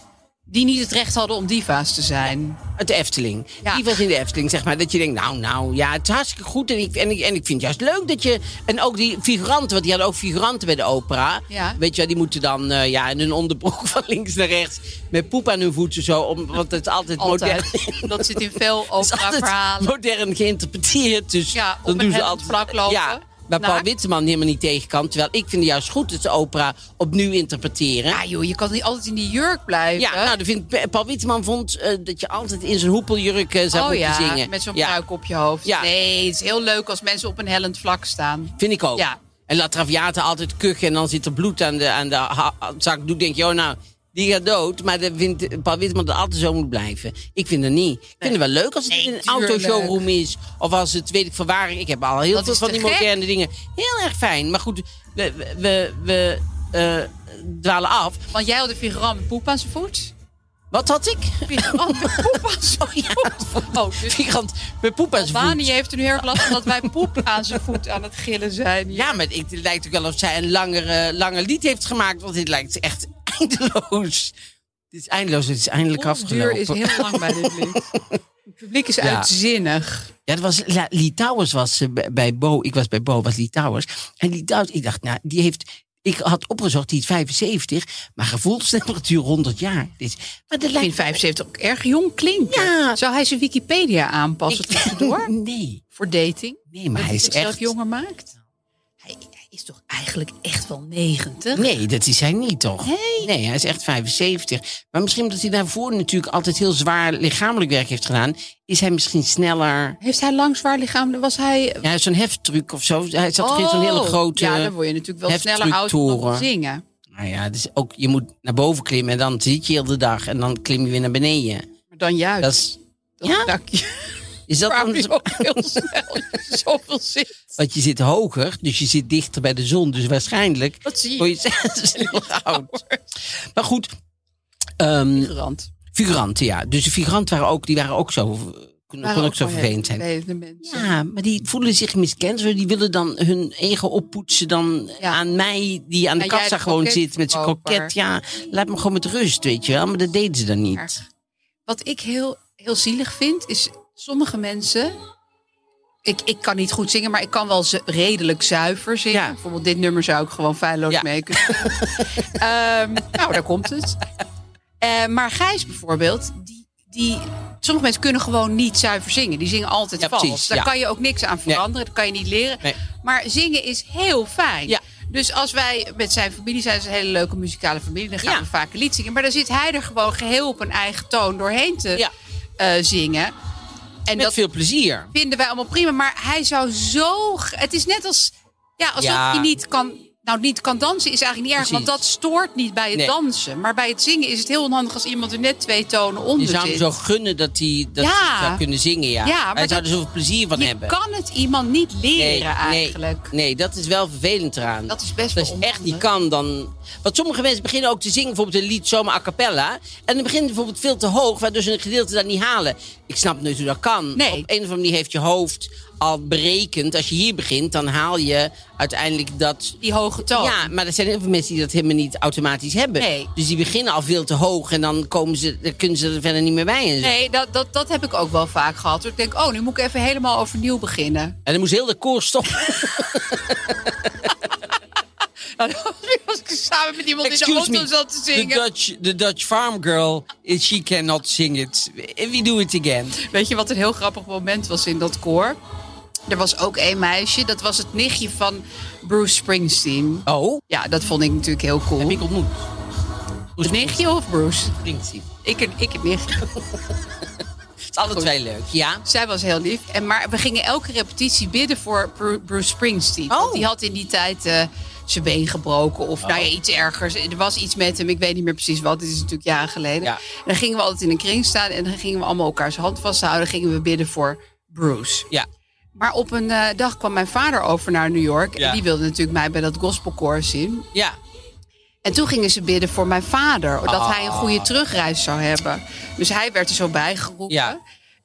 Speaker 3: die niet het recht hadden om diva's te zijn.
Speaker 2: Uit de Efteling.
Speaker 3: Ja.
Speaker 2: Die was in de Efteling, zeg maar. Dat je denkt, nou, nou, ja, het is hartstikke goed. En ik, en ik, en ik vind het juist leuk dat je... En ook die figuranten, want die hadden ook figuranten bij de opera.
Speaker 3: Ja.
Speaker 2: Weet je wel, die moeten dan eh, ja, in hun onderbroek van links naar rechts... met poep aan hun voeten zo. Om, want het is altijd,
Speaker 3: Altijd.
Speaker 2: modern.
Speaker 3: Dat zit in veel
Speaker 2: Het is altijd
Speaker 3: opera-verhalen.
Speaker 2: modern geïnterpreteerd. Dus
Speaker 3: Ja, op
Speaker 2: dan
Speaker 3: een
Speaker 2: doen ze
Speaker 3: hemd
Speaker 2: altijd
Speaker 3: vlak lopen, Nou,
Speaker 2: Ja, waar Paul
Speaker 3: naakt.
Speaker 2: Witteman helemaal niet tegen kan. Terwijl ik vind het juist goed dat ze opera opnieuw interpreteren.
Speaker 3: Ja joh, je kan niet altijd in die jurk blijven.
Speaker 2: Ja, nou, dat vindt, Pa- Paul Witteman vond eh, dat je altijd in zijn hoepeljurk eh, zou
Speaker 3: oh
Speaker 2: moeten
Speaker 3: ja,
Speaker 2: zingen.
Speaker 3: met zo'n
Speaker 2: ja,
Speaker 3: pruik op je hoofd.
Speaker 2: Ja.
Speaker 3: Nee, het is heel leuk als mensen op een hellend vlak staan.
Speaker 2: Vind ik ook.
Speaker 3: Ja.
Speaker 2: En La Traviata altijd kuchen en dan zit er bloed aan de, aan de ha- zak. Doe denk je, oh nou, die gaat dood. Maar dat vindt Paul Witteman dat altijd zo moet blijven. Ik vind dat niet. Ik vind het wel leuk als het in een
Speaker 3: tuurlijk.
Speaker 2: autoshowroom is. Of als het, weet ik van waar. Ik heb al heel
Speaker 3: Dat
Speaker 2: veel
Speaker 3: is
Speaker 2: van
Speaker 3: te
Speaker 2: die
Speaker 3: gek.
Speaker 2: moderne dingen. Heel erg fijn. Maar goed, we, we, we, we, eh, dwalen af.
Speaker 3: Want jij had een figurant met poep aan zijn voet.
Speaker 2: Wat had ik?
Speaker 3: Figurant met poep aan zijn
Speaker 2: Oh ja,
Speaker 3: voet. Oh, dus
Speaker 2: Gigant met poep aan zijn voet.
Speaker 3: Albanië heeft er nu heel erg last van dat wij poep aan zijn voet aan het gillen zijn.
Speaker 2: Ja, maar ik, het lijkt ook wel of zij een langer, eh, langer lied heeft gemaakt. Want dit lijkt echt eindeloos. Dit is eindeloos, het is eindelijk
Speaker 3: duur
Speaker 2: afgelopen.
Speaker 3: is heel lang bij dit lied. Het publiek is
Speaker 2: Ja.
Speaker 3: uitzinnig.
Speaker 2: Ja, dat was, La- Litouwers was eh, bij- bij Bo. Ik was bij Bo, was Litouwers. En Litouwers, ik dacht, nou, die heeft... Ik had opgezocht, die is 75, maar gevoelstemperatuur 100 jaar. Dus, maar dat
Speaker 3: Ik vind
Speaker 2: lijkt...
Speaker 3: 75 ook erg jong klinken.
Speaker 2: Ja.
Speaker 3: Zou hij zijn Wikipedia aanpassen tussendoor?
Speaker 2: Nee,
Speaker 3: Voor dating?
Speaker 2: nee, maar
Speaker 3: Dat
Speaker 2: hij is
Speaker 3: zichzelf
Speaker 2: echt...
Speaker 3: jonger maakt? Hij, hij is toch eigenlijk echt wel 90?
Speaker 2: Nee, dat is hij niet, toch? Nee. hij is echt 75. Maar misschien omdat hij daarvoor natuurlijk altijd heel zwaar lichamelijk werk heeft gedaan... is hij misschien sneller...
Speaker 3: Heeft hij lang zwaar lichaam? Was hij...
Speaker 2: Ja, hij heeft zo'n heftruc of zo. Hij zat toch in zo'n hele
Speaker 3: Oh.
Speaker 2: grote...
Speaker 3: Ja, dan word je natuurlijk wel sneller oud om
Speaker 2: heftructoren.
Speaker 3: te zingen.
Speaker 2: Nou ja, dus ook, je moet naar boven klimmen en dan zit je heel de dag. En dan klim je weer naar beneden.
Speaker 3: Maar dan juist.
Speaker 2: Dat is...
Speaker 3: dan
Speaker 2: ja?
Speaker 3: dak je
Speaker 2: Is dat
Speaker 3: kwam
Speaker 2: dan
Speaker 3: je
Speaker 2: zo?
Speaker 3: ook heel snel. als je Zoveel zit.
Speaker 2: Want je zit hoger, dus je zit dichter bij de zon. Dus waarschijnlijk
Speaker 3: Dat zie je.
Speaker 2: word je sneller oud. Maar goed, ehm
Speaker 3: Gerand.
Speaker 2: figuranten, ja. Dus de figuranten waren ook, die waren ook zo kon,
Speaker 3: Waren
Speaker 2: kon ook zo
Speaker 3: gewoon
Speaker 2: vervelend zijn.
Speaker 3: vervelende mensen.
Speaker 2: Ja, maar die voelen zich miskend. zo. Die willen dan hun eigen oppoetsen dan
Speaker 3: Ja.
Speaker 2: aan mij, die aan de
Speaker 3: Ja, jij
Speaker 2: kassa
Speaker 3: de
Speaker 2: gewoon zit met zijn
Speaker 3: kroketverkoper.
Speaker 2: kroket. Ja, laat me gewoon met rust, weet je wel. Maar dat deden ze dan niet.
Speaker 3: Erg. Wat ik heel, heel zielig vind, is sommige mensen. Ik, ik kan niet goed zingen, maar ik kan wel ze- redelijk zuiver zingen.
Speaker 2: Ja.
Speaker 3: Bijvoorbeeld dit nummer zou ik gewoon feilloos
Speaker 2: Ja.
Speaker 3: mee kunnen. Ehm, nou, daar komt het. Eh, maar Gijs bijvoorbeeld, die, die, sommige mensen kunnen gewoon niet zuiver zingen. Die zingen altijd
Speaker 2: Ja,
Speaker 3: vals.
Speaker 2: precies,
Speaker 3: Daar
Speaker 2: ja.
Speaker 3: kan je ook niks aan veranderen. Dat kan je niet leren.
Speaker 2: Nee.
Speaker 3: Maar zingen is heel fijn.
Speaker 2: Ja.
Speaker 3: Dus als wij met zijn familie zijn, ze een hele leuke muzikale familie. Dan gaan
Speaker 2: Ja.
Speaker 3: we vaak een lied zingen. Maar dan zit hij er gewoon geheel op een eigen toon doorheen te
Speaker 2: Ja.
Speaker 3: eh, zingen. En
Speaker 2: Met
Speaker 3: dat
Speaker 2: veel plezier.
Speaker 3: vinden wij allemaal prima. Maar hij zou zo... g- Het is net als... Ja, alsof
Speaker 2: Ja.
Speaker 3: je niet kan... Nou, niet kan dansen is eigenlijk niet erg,
Speaker 2: Precies.
Speaker 3: want dat stoort niet bij het
Speaker 2: Nee.
Speaker 3: dansen. Maar bij het zingen is het heel onhandig als iemand er net twee tonen
Speaker 2: Je
Speaker 3: onder
Speaker 2: zou hem
Speaker 3: zit.
Speaker 2: zo gunnen dat hij dat
Speaker 3: Ja.
Speaker 2: hij zou kunnen zingen, ja.
Speaker 3: Ja, maar
Speaker 2: hij zou
Speaker 3: dat-
Speaker 2: er zoveel plezier van
Speaker 3: je
Speaker 2: hebben.
Speaker 3: kan het iemand niet leren
Speaker 2: nee,
Speaker 3: eigenlijk.
Speaker 2: Nee, nee, dat is wel vervelend eraan.
Speaker 3: Dat is best wel
Speaker 2: Als je echt niet
Speaker 3: onhandig.
Speaker 2: kan, dan... Want sommige mensen beginnen ook te zingen bijvoorbeeld een lied zomaar a cappella. En dan begint het bijvoorbeeld veel te hoog, waardoor ze een gedeelte dat niet halen. Ik snap nooit hoe dat kan.
Speaker 3: Nee.
Speaker 2: Op een of andere manier heeft je hoofd al berekend. Als je hier begint, dan haal je uiteindelijk dat...
Speaker 3: Die hoge toon.
Speaker 2: Ja, maar er zijn heel veel mensen die dat helemaal niet automatisch hebben.
Speaker 3: Nee.
Speaker 2: Dus die beginnen al veel te hoog en dan, komen ze, dan kunnen ze er verder niet meer bij. En, zo.
Speaker 3: Nee, dat, dat, dat heb ik ook wel vaak gehad. hoor. Ik denk, oh, nu moet ik even helemaal overnieuw beginnen.
Speaker 2: en dan moest heel de koor stoppen.
Speaker 3: Nou, dat was weer als ik samen met iemand in de auto zat te
Speaker 2: The
Speaker 3: zingen.
Speaker 2: Dutch, the Dutch farm girl, eh, she cannot sing it. Eh, We do it again.
Speaker 3: Weet je wat een heel grappig moment was in dat koor? Er was ook één meisje, dat was het nichtje van Bruce Springsteen.
Speaker 2: Oh,
Speaker 3: Ja, dat vond ik natuurlijk heel
Speaker 2: heb
Speaker 3: cool.
Speaker 2: ik ontmoet. Hoe
Speaker 3: Het nichtje of Bruce?
Speaker 2: springt hij?
Speaker 3: Ik en ik het nichtje.
Speaker 2: Het is alle twee leuk, ja.
Speaker 3: Zij was heel lief. En, maar we gingen elke repetitie bidden voor Bru- Bruce Springsteen.
Speaker 2: Oh. Oh.
Speaker 3: Want die had in die tijd eh, zijn been gebroken of nou ja, iets ergers. Er was iets met hem, ik weet niet meer precies wat. Dit is natuurlijk jaren geleden.
Speaker 2: Ja.
Speaker 3: En dan gingen we altijd in een kring staan en dan gingen we allemaal elkaars hand vasthouden. Dan gingen we bidden voor Bruce.
Speaker 2: Ja,
Speaker 3: Maar op een eh, dag kwam mijn vader over naar New York.
Speaker 2: Ja.
Speaker 3: En die wilde natuurlijk mij bij dat gospelkoor zien.
Speaker 2: ja.
Speaker 3: En toen gingen ze bidden voor mijn vader. Dat
Speaker 2: Ah.
Speaker 3: hij een goede terugreis zou hebben. Dus hij werd er zo bijgeroepen.
Speaker 2: Ja.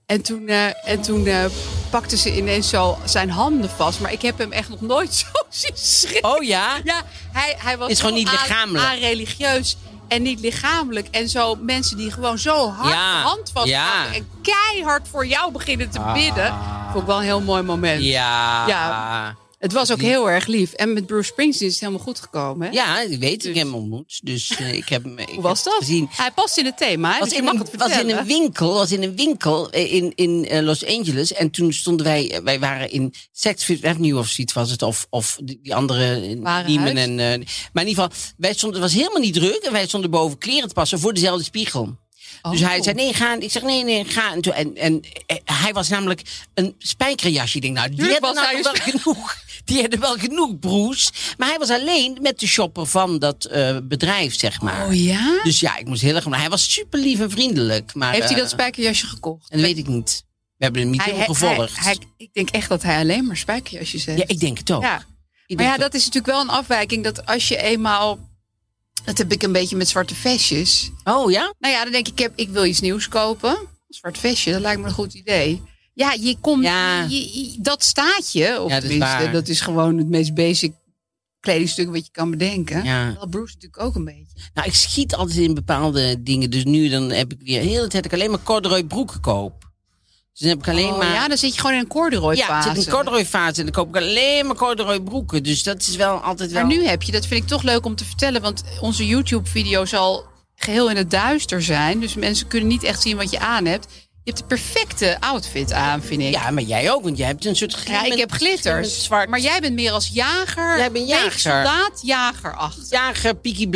Speaker 3: En toen, eh, en toen eh, pakte ze ineens zo zijn handen vast. Maar ik heb hem echt nog nooit zo zien schreeuwen.
Speaker 2: Oh ja?
Speaker 3: Ja, hij, hij was
Speaker 2: Is gewoon
Speaker 3: zo
Speaker 2: niet
Speaker 3: a-
Speaker 2: lichamelijk.
Speaker 3: A-religieus en niet lichamelijk. En zo mensen die gewoon zo hard
Speaker 2: Ja,
Speaker 3: de hand vasthouden.
Speaker 2: ja. Ah.
Speaker 3: En keihard voor jou beginnen te bidden. Vond ik wel een heel mooi moment.
Speaker 2: Ja.
Speaker 3: Ja. Het was ook heel erg lief. En met Bruce Springsteen is het helemaal goed gekomen. Hè?
Speaker 2: Ja, ik weet, ik
Speaker 3: Dus-
Speaker 2: heb hem ontmoet. Dus eh, ik heb hem ik
Speaker 3: Hoe was
Speaker 2: heb hem
Speaker 3: dat?
Speaker 2: gezien.
Speaker 3: Hij past in het thema, hè?
Speaker 2: was
Speaker 3: dus
Speaker 2: in,
Speaker 3: je mag
Speaker 2: een-
Speaker 3: het
Speaker 2: was in
Speaker 3: vertellen.
Speaker 2: een winkel, was in een winkel eh, in, in eh, Los Angeles. En toen stonden wij, eh, wij waren in Saks Avenue of zoiets was het. Of, of die die andere, eh,
Speaker 3: Warenhuis.
Speaker 2: Neiman en... eh, maar in ieder geval, wij stonden, het was helemaal niet druk. En wij stonden boven kleren te passen voor dezelfde spiegel. Dus
Speaker 3: Oh.
Speaker 2: hij zei, nee, ga. Ik zeg, nee, nee, ga. En, toen- en, en eh, hij was namelijk een spijkerjasje. Ik denk, nou, die
Speaker 3: Tuurlijk
Speaker 2: hebben
Speaker 3: was
Speaker 2: nou
Speaker 3: hij
Speaker 2: wel
Speaker 3: een
Speaker 2: genoeg. Die hebben wel genoeg, broes. Maar hij was alleen met de shopper van dat eh, bedrijf, zeg maar.
Speaker 3: Oh ja?
Speaker 2: Dus ja, ik moest heel erg. Maar hij was super lief en vriendelijk. Maar,
Speaker 3: Heeft hij
Speaker 2: eh,
Speaker 3: dat spijkerjasje gekocht?
Speaker 2: Dat weet ik niet. We hebben hem niet
Speaker 3: Hij-
Speaker 2: helemaal
Speaker 3: hij-
Speaker 2: gevolgd.
Speaker 3: hij- hij- ik denk echt dat hij alleen maar spijkerjasjes heeft.
Speaker 2: ja, ik denk het ook.
Speaker 3: Ja.
Speaker 2: Ik
Speaker 3: Maar ja,
Speaker 2: denk
Speaker 3: dat is natuurlijk wel een afwijking. Dat als je eenmaal... Dat heb ik een beetje met zwarte vestjes.
Speaker 2: het ook. Oh ja?
Speaker 3: Nou ja, dan denk ik, ik, heb, ik wil iets nieuws kopen. Een zwart vestje, dat lijkt me een goed idee. Ja, je komt,
Speaker 2: Ja.
Speaker 3: je- je- dat staat je. Of
Speaker 2: Ja, dat is
Speaker 3: tenminste,
Speaker 2: waar.
Speaker 3: dat is gewoon het meest basic kledingstuk wat je kan bedenken.
Speaker 2: Ja.
Speaker 3: Wel Bruce natuurlijk ook een beetje.
Speaker 2: Nou, ik schiet altijd in bepaalde dingen. Dus nu dan heb ik weer de hele tijd dat ik alleen maar corduroy broeken koop. Dus dan heb ik alleen
Speaker 3: Oh,
Speaker 2: maar...
Speaker 3: ja, dan zit je gewoon in een corduroy
Speaker 2: Ja, het
Speaker 3: fase.
Speaker 2: zit een corduroy fase en dan koop ik alleen maar corduroy broeken. Dus dat is wel altijd wel...
Speaker 3: Maar nu heb je, dat vind ik toch leuk om te vertellen, want onze YouTube-video zal geheel in het duister zijn. Dus mensen kunnen niet echt zien wat je aan hebt. Je hebt de perfecte outfit aan, vind ik.
Speaker 2: Ja, maar jij ook, want jij hebt een soort
Speaker 3: Ja, ik
Speaker 2: glimmend-
Speaker 3: heb
Speaker 2: glimmend
Speaker 3: glitters.
Speaker 2: Zwart,
Speaker 3: Maar
Speaker 2: maar
Speaker 3: jij bent meer als jager.
Speaker 2: Jij bent jager.
Speaker 3: tegen Soldaat, jager achter.
Speaker 2: jager, Peaky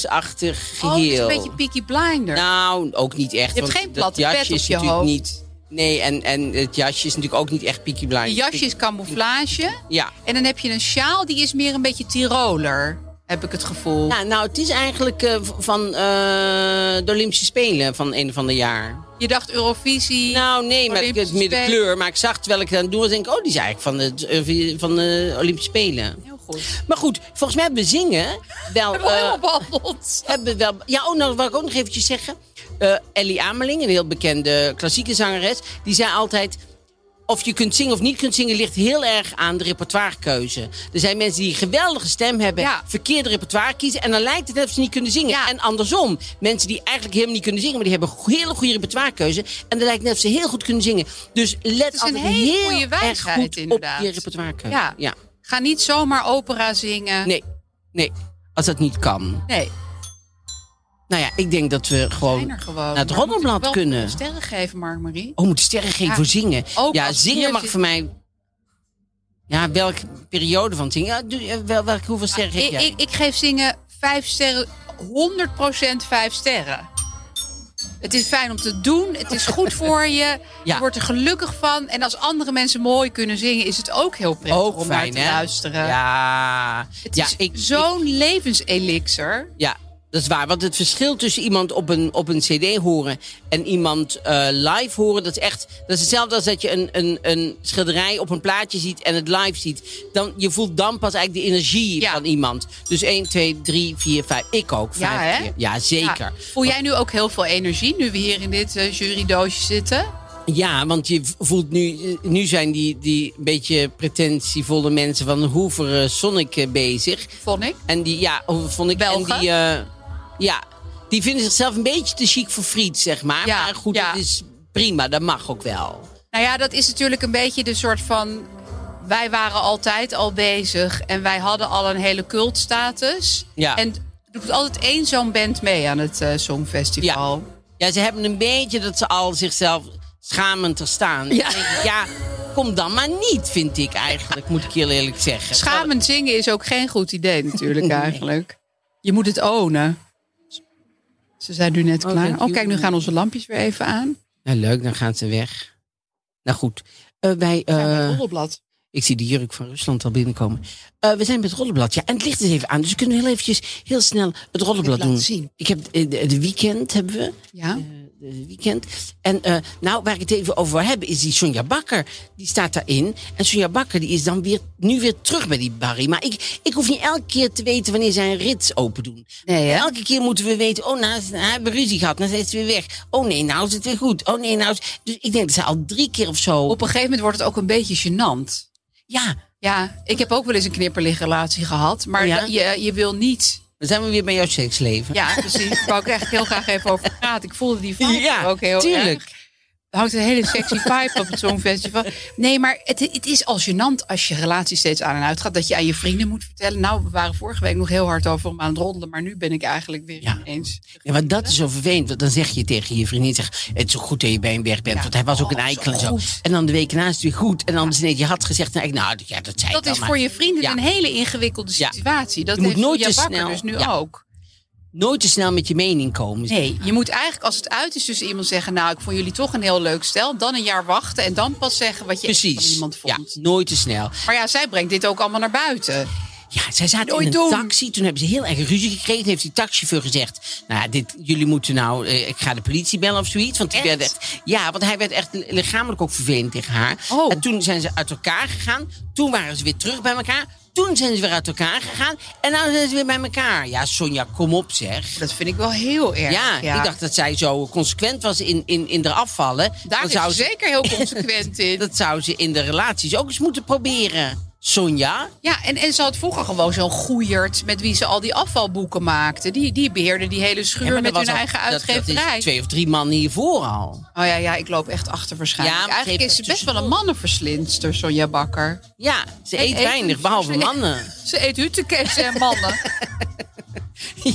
Speaker 2: Blinders-achtig
Speaker 3: Oh, het is
Speaker 2: geheel.
Speaker 3: een beetje Peaky Blinder.
Speaker 2: Nou, ook niet echt.
Speaker 3: Je hebt
Speaker 2: want
Speaker 3: geen
Speaker 2: dat
Speaker 3: platte
Speaker 2: jasje
Speaker 3: pet op
Speaker 2: is
Speaker 3: je
Speaker 2: natuurlijk
Speaker 3: hoofd.
Speaker 2: Niet, nee, en, en het jasje is natuurlijk ook niet echt Peaky Blinders.
Speaker 3: je jasje is camouflage.
Speaker 2: Ja.
Speaker 3: En dan heb je een sjaal, die is meer een beetje Tiroler. Heb ik het gevoel.
Speaker 2: Ja, nou, het is eigenlijk eh, v- van eh, de Olympische Spelen van een of ander jaar.
Speaker 3: Je dacht Eurovisie.
Speaker 2: Nou, nee, maar ik
Speaker 3: Olympische
Speaker 2: het midden
Speaker 3: Spelen.
Speaker 2: kleur. Maar ik zag terwijl ik het aan het doen was, denk ik, oh, die is eigenlijk van de, eh, van de Olympische Spelen.
Speaker 3: Heel goed.
Speaker 2: Maar goed, volgens mij hebben we zingen wel...
Speaker 3: Helemaal
Speaker 2: eh,
Speaker 3: behandeld.
Speaker 2: hebben we wel ja, oh, nou, wat ik ook nog eventjes zeggen. Eh, eh, Ellie Ameling, een heel bekende klassieke zangeres, die zei altijd. Of je kunt zingen of niet kunt zingen, ligt heel erg aan de repertoirekeuze. Er zijn mensen die een geweldige stem hebben,
Speaker 5: Ja.
Speaker 2: verkeerde repertoire kiezen. En dan lijkt het net of ze niet kunnen zingen. En andersom, mensen die eigenlijk helemaal niet kunnen zingen, maar die hebben een hele goede repertoirekeuze. En dan lijkt net of ze heel goed kunnen zingen. Dus let
Speaker 3: is
Speaker 2: altijd
Speaker 3: een hele
Speaker 2: heel
Speaker 3: goede
Speaker 2: erg
Speaker 3: wijsheid,
Speaker 2: goed
Speaker 3: inderdaad.
Speaker 2: op je repertoirekeuze.
Speaker 3: Ja.
Speaker 2: ja.
Speaker 3: Ga niet zomaar opera zingen.
Speaker 2: Nee, Oh, nee, als dat niet kan.
Speaker 3: Nee,
Speaker 2: Nou ja, ik denk dat we
Speaker 3: zijn
Speaker 2: gewoon
Speaker 3: er gewoon.
Speaker 2: naar het
Speaker 3: Maar moet ik
Speaker 2: roddelblad
Speaker 3: wel
Speaker 2: kunnen.
Speaker 3: Sterren geven, Mark-Marie.
Speaker 2: Oh, moet de sterren geven
Speaker 3: Ja,
Speaker 2: voor zingen?
Speaker 3: ook
Speaker 2: Ja,
Speaker 3: als
Speaker 2: zingen
Speaker 3: hier
Speaker 2: mag
Speaker 3: zit-
Speaker 2: voor mij... Ja, welke periode van zingen? Ja, doe- eh, wel, welke, hoeveel sterren geef
Speaker 3: Ik,
Speaker 2: jij?
Speaker 3: ik, ik geef zingen vijf sterren, 100% vijf sterren. Het is fijn om te doen, het is goed voor je,
Speaker 2: Ja.
Speaker 3: je wordt er gelukkig van. En als andere mensen mooi kunnen zingen, is het ook heel prettig
Speaker 2: Ook
Speaker 3: om
Speaker 2: fijn,
Speaker 3: naar te
Speaker 2: hè?
Speaker 3: luisteren.
Speaker 2: Ja,
Speaker 3: Het
Speaker 2: ja,
Speaker 3: is
Speaker 2: ik, ik-
Speaker 3: zo'n levenselixer.
Speaker 2: ja, dat is waar. Want het verschil tussen iemand op een, op een cd horen... en iemand eh, live horen, dat is echt... Dat is hetzelfde als dat je een, een, een schilderij op een plaatje ziet... en het live ziet. Dan, je voelt dan pas eigenlijk de energie
Speaker 3: Ja.
Speaker 2: van iemand. Dus 1, 2, 3, 4, 5. Ik ook,
Speaker 3: Ja,
Speaker 2: vijf
Speaker 3: hè?
Speaker 2: keer. Ja,
Speaker 3: Ja.
Speaker 2: zeker.
Speaker 3: Voel jij nu ook heel veel energie, nu we hier in dit eh, jurydoosje zitten?
Speaker 2: Ja, want je voelt nu, nu zijn die, die beetje pretentievolle mensen van Hoover eh, Sonic eh, bezig.
Speaker 3: Vond ik.
Speaker 2: En die, ja, Hoover Sonic.
Speaker 3: Belgen?
Speaker 2: En die, eh, ja, die vinden zichzelf een beetje te chic voor friet, zeg maar.
Speaker 3: Ja,
Speaker 2: maar goed,
Speaker 3: ja.
Speaker 2: dat is prima, dat mag ook wel.
Speaker 3: Nou ja, dat is natuurlijk een beetje de soort van. Wij waren altijd al bezig en wij hadden al een hele cultstatus.
Speaker 2: Ja.
Speaker 3: En er doet altijd één zo'n band mee aan het eh, Songfestival.
Speaker 2: Ja, ze hebben een beetje dat ze al zichzelf schamend te staan. Ja. ja, kom dan maar niet, vind ik eigenlijk, moet ik heel eerlijk zeggen. Oh,
Speaker 3: Schamend zingen is ook geen goed idee, natuurlijk, eigenlijk. Je moet het ownen. Ze zijn nu net
Speaker 2: Oh,
Speaker 3: klaar.
Speaker 2: thank
Speaker 3: Oh,
Speaker 2: you.
Speaker 3: kijk, nu gaan onze lampjes weer even aan.
Speaker 2: Nou, leuk, dan gaan ze weg. Nou goed, eh, wij... eh,
Speaker 3: Roddelblad.
Speaker 2: Ik zie de jurk van Rusland al binnenkomen. Eh, we zijn bij het rollenblad. Ja, en het licht is even aan. Dus we kunnen heel eventjes heel snel het rollenblad
Speaker 3: laten
Speaker 2: doen.
Speaker 3: zien.
Speaker 2: Ik heb eh, de, de weekend hebben we.
Speaker 3: Ja.
Speaker 2: Eh, de weekend. En eh, nou, waar ik het even over wil hebben, is die Sonja Bakker. Die staat daarin. En Sonja Bakker die is dan weer, nu weer terug bij die Barry. Maar ik, ik hoef niet elke keer te weten wanneer zij een rits open doen.
Speaker 3: Nee, hè?
Speaker 2: Elke keer moeten we weten, oh, nou, ze hebben ruzie gehad. Nou, zijn ze weer weg. Oh nee, nou is het weer goed. Oh nee, nou is... Dus ik denk dat ze al drie keer of zo...
Speaker 3: Op een gegeven moment wordt het ook een beetje gênant.
Speaker 2: Ja,
Speaker 3: Ja, ik heb ook wel eens een knipperligrelatie gehad. Maar
Speaker 2: Oh ja?
Speaker 3: je, je wil niet
Speaker 2: dan zijn we weer bij jouw seksleven.
Speaker 3: Ja, precies. Daar wou ik echt heel graag even over praten. Ik voelde die vibe
Speaker 2: Ja,
Speaker 3: ook heel
Speaker 2: tuurlijk.
Speaker 3: erg. Er hangt een hele sexy vibe op het Songfestival. Nee, maar het, het is al gênant als je relatie steeds aan en uit gaat. Dat je aan je vrienden moet vertellen. Nou, we waren vorige week nog heel hard over om aan het roddelen. Maar nu ben ik eigenlijk weer
Speaker 2: Ja.
Speaker 3: ineens...
Speaker 2: Ja, maar dat is zo vervelend. Want dan zeg je tegen je vriendin, zeg, het is zo goed dat je bij hem weg bent.
Speaker 3: Ja.
Speaker 2: Want hij was ook
Speaker 3: Oh,
Speaker 2: een eikel en
Speaker 3: zo
Speaker 2: zo.
Speaker 3: goed.
Speaker 2: En dan de week naast weer goed. En dan is ineens, je had gezegd, nou, ik- nou ja, dat zei ik
Speaker 3: Dat
Speaker 2: wel,
Speaker 3: is
Speaker 2: maar
Speaker 3: voor je vrienden
Speaker 2: Ja.
Speaker 3: een hele ingewikkelde
Speaker 2: Ja.
Speaker 3: situatie. Dat
Speaker 2: Je moet
Speaker 3: heeft
Speaker 2: nooit
Speaker 3: Julia
Speaker 2: te
Speaker 3: Bakker
Speaker 2: snel-
Speaker 3: dus nu
Speaker 2: Ja.
Speaker 3: ook.
Speaker 2: Nooit te snel met je mening komen.
Speaker 3: Nee, je moet eigenlijk als het uit is tussen iemand zeggen... nou, ik vond jullie toch een heel leuk stel. Dan een jaar wachten en dan pas zeggen wat je echt van
Speaker 2: Precies.
Speaker 3: iemand
Speaker 2: Ja,
Speaker 3: vond.
Speaker 2: nooit te snel.
Speaker 3: Maar ja, zij brengt dit ook allemaal naar buiten.
Speaker 2: Ja, zij zaten
Speaker 3: Nooit
Speaker 2: in een
Speaker 3: doen.
Speaker 2: taxi. Toen hebben ze heel erg ruzie gekregen. Heeft die taxichauffeur gezegd, nou, dit, jullie moeten nou, eh, ik ga de politie bellen of zoiets. Want die
Speaker 3: Echt?
Speaker 2: werd echt, ja, want hij werd echt lichamelijk ook vervelend tegen haar.
Speaker 3: Oh.
Speaker 2: En toen zijn ze uit elkaar gegaan. Toen waren ze weer terug bij elkaar. Toen zijn ze weer uit elkaar gegaan. En nu zijn ze weer bij elkaar. Ja, Sonja, kom op zeg.
Speaker 3: Dat vind ik wel heel erg.
Speaker 2: Ja, ik dacht dat zij zo consequent was in, in, in haar afvallen.
Speaker 3: Daar
Speaker 2: Dan
Speaker 3: is ze
Speaker 2: zou ze,
Speaker 3: zeker heel consequent in.
Speaker 2: dat zou ze in de relaties ook eens moeten proberen. Sonja?
Speaker 3: Ja, en, en ze had vroeger gewoon zo'n goeierd met wie ze al die afvalboeken maakte. Die, die beheerde die hele
Speaker 2: Ja,
Speaker 3: schuur
Speaker 2: maar
Speaker 3: met
Speaker 2: dat
Speaker 3: hun
Speaker 2: was al-
Speaker 3: eigen
Speaker 2: dat-
Speaker 3: uitgeverij.
Speaker 2: Dat is twee of drie man hiervoor al.
Speaker 3: Oh ja, ja, ik loop echt achter waarschijnlijk.
Speaker 2: Ja, maar
Speaker 3: Eigenlijk
Speaker 2: geef
Speaker 3: is ze
Speaker 2: het
Speaker 3: best wel een
Speaker 2: tussendoor.
Speaker 3: mannenverslinster, Sonja Bakker.
Speaker 2: Ja, ze eet
Speaker 3: eet
Speaker 2: weinig,
Speaker 3: een-
Speaker 2: behalve
Speaker 3: ze-
Speaker 2: mannen.
Speaker 3: Ze eet huttekens en mannen.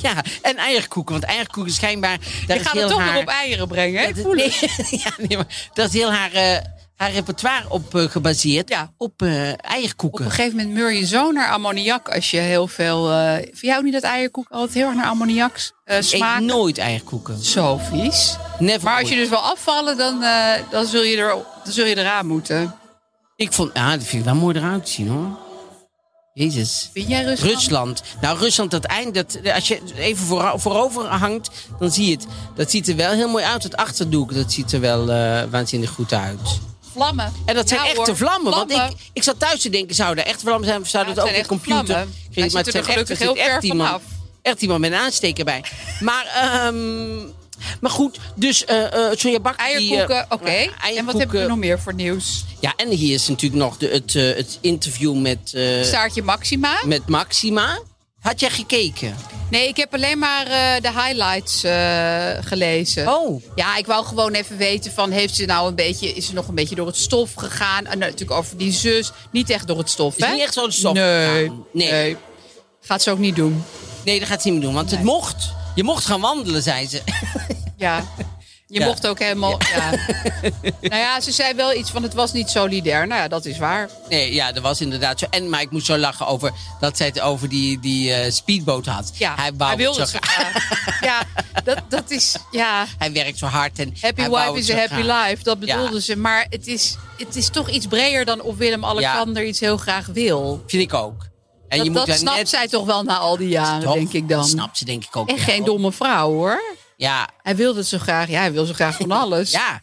Speaker 2: Ja, en eierkoeken. Want eierkoeken is schijnbaar... Daar
Speaker 3: Je
Speaker 2: is
Speaker 3: gaat
Speaker 2: heel
Speaker 3: het toch
Speaker 2: haar,
Speaker 3: weer op eieren brengen, hè?
Speaker 2: dat-
Speaker 3: Ik voel het.
Speaker 2: nee, ja, nee, maar dat is heel haar, eh, haar repertoire op eh, gebaseerd.
Speaker 3: Ja.
Speaker 2: Op eh,
Speaker 3: Op
Speaker 2: eierkoeken.
Speaker 3: een gegeven moment meur je zo naar ammoniak als je heel veel... eh vind jij ook niet dat eierkoek altijd heel erg naar ammoniak eh
Speaker 2: Ik eet
Speaker 3: smaakt?
Speaker 2: nooit eierkoeken.
Speaker 3: Zo vies.
Speaker 2: Never
Speaker 3: Maar als
Speaker 2: ooit.
Speaker 3: je dus wil afvallen, dan, eh, dan, zul, je er, dan zul je eraan moeten.
Speaker 2: Ik vond... Ja, dat vind ik wel mooi eruit zien, hoor. Jezus.
Speaker 3: Vind jij Rusland?
Speaker 2: Rusland. Nou, Rusland, dat eind, dat, als je even voora- voorover hangt, dan zie je het. Dat ziet er wel heel mooi uit. Het achterdoek, dat ziet er wel eh, waanzinnig goed uit.
Speaker 3: Vlammen.
Speaker 2: En dat zijn
Speaker 3: Ja,
Speaker 2: echte
Speaker 3: Nou, hoor,
Speaker 2: vlammen. Want ik, ik zat thuis te denken, zouden er echt vlammen zijn? Of zou
Speaker 3: Ja,
Speaker 2: dat ook
Speaker 3: het
Speaker 2: een
Speaker 3: zijn echt
Speaker 2: computer?
Speaker 3: vlammen.
Speaker 2: Geen-
Speaker 3: Hij ziet er
Speaker 2: het zijn
Speaker 3: gelukkig
Speaker 2: echt- er
Speaker 3: heel
Speaker 2: zit echt
Speaker 3: ver
Speaker 2: iemand-
Speaker 3: vanaf.
Speaker 2: Echt iemand met een aansteker bij. Maar ehm, Maar goed, dus eh eh Sonja Bakker... die, eh,
Speaker 3: Eierkoeken, oké.
Speaker 2: eierkoeken.
Speaker 3: En wat hebben we nog meer voor nieuws?
Speaker 2: Ja, en hier is natuurlijk nog de, het, eh, het interview met, eh,
Speaker 3: Staartje Maxima.
Speaker 2: met Maxima. Had jij gekeken?
Speaker 3: Nee, ik heb alleen maar eh, de highlights eh, gelezen.
Speaker 2: Oh.
Speaker 3: Ja, ik wou gewoon even weten van heeft ze nou een beetje, is ze nog een beetje door het stof gegaan? En natuurlijk over die zus, niet echt door het stof,
Speaker 2: Is
Speaker 3: hè?
Speaker 2: niet echt zo de stof
Speaker 3: Nee,
Speaker 2: gegaan. Nee.
Speaker 3: nee, Gaat ze ook niet doen.
Speaker 2: Nee, dat gaat ze niet meer doen, want het mocht. Je mocht gaan wandelen, zei ze.
Speaker 3: Ja. Je
Speaker 2: Ja.
Speaker 3: mocht ook helemaal. Ja. nou ja, ze zei wel iets van het was niet solidair. Nou ja, dat is waar.
Speaker 2: Nee, ja, dat was inderdaad zo. En maar ik moest zo lachen over dat zij het over die, die eh, speedboot had.
Speaker 3: Ja,
Speaker 2: hij, wou het
Speaker 3: wilde
Speaker 2: zo
Speaker 3: zo
Speaker 2: graag.
Speaker 3: graag. Ja, dat, dat is. Ja.
Speaker 2: Hij werkt zo hard en
Speaker 3: Happy
Speaker 2: hij wou
Speaker 3: wife
Speaker 2: het
Speaker 3: is
Speaker 2: zo
Speaker 3: a happy
Speaker 2: graag.
Speaker 3: life. Dat bedoelde
Speaker 2: Ja.
Speaker 3: ze. Maar het is, het is toch iets breder dan of Willem-Alexander iets heel graag wil.
Speaker 2: Vind ik ook. En je
Speaker 3: dat
Speaker 2: moet
Speaker 3: dat
Speaker 2: daar
Speaker 3: snapt
Speaker 2: net...
Speaker 3: zij toch wel na al die jaren,
Speaker 2: Toch?
Speaker 3: denk ik dan.
Speaker 2: Dat snapt ze denk ik ook
Speaker 3: En
Speaker 2: wel.
Speaker 3: geen domme vrouw hoor.
Speaker 2: Ja,
Speaker 3: Hij wilde het zo graag. Ja, hij wil zo graag van alles.
Speaker 2: ja.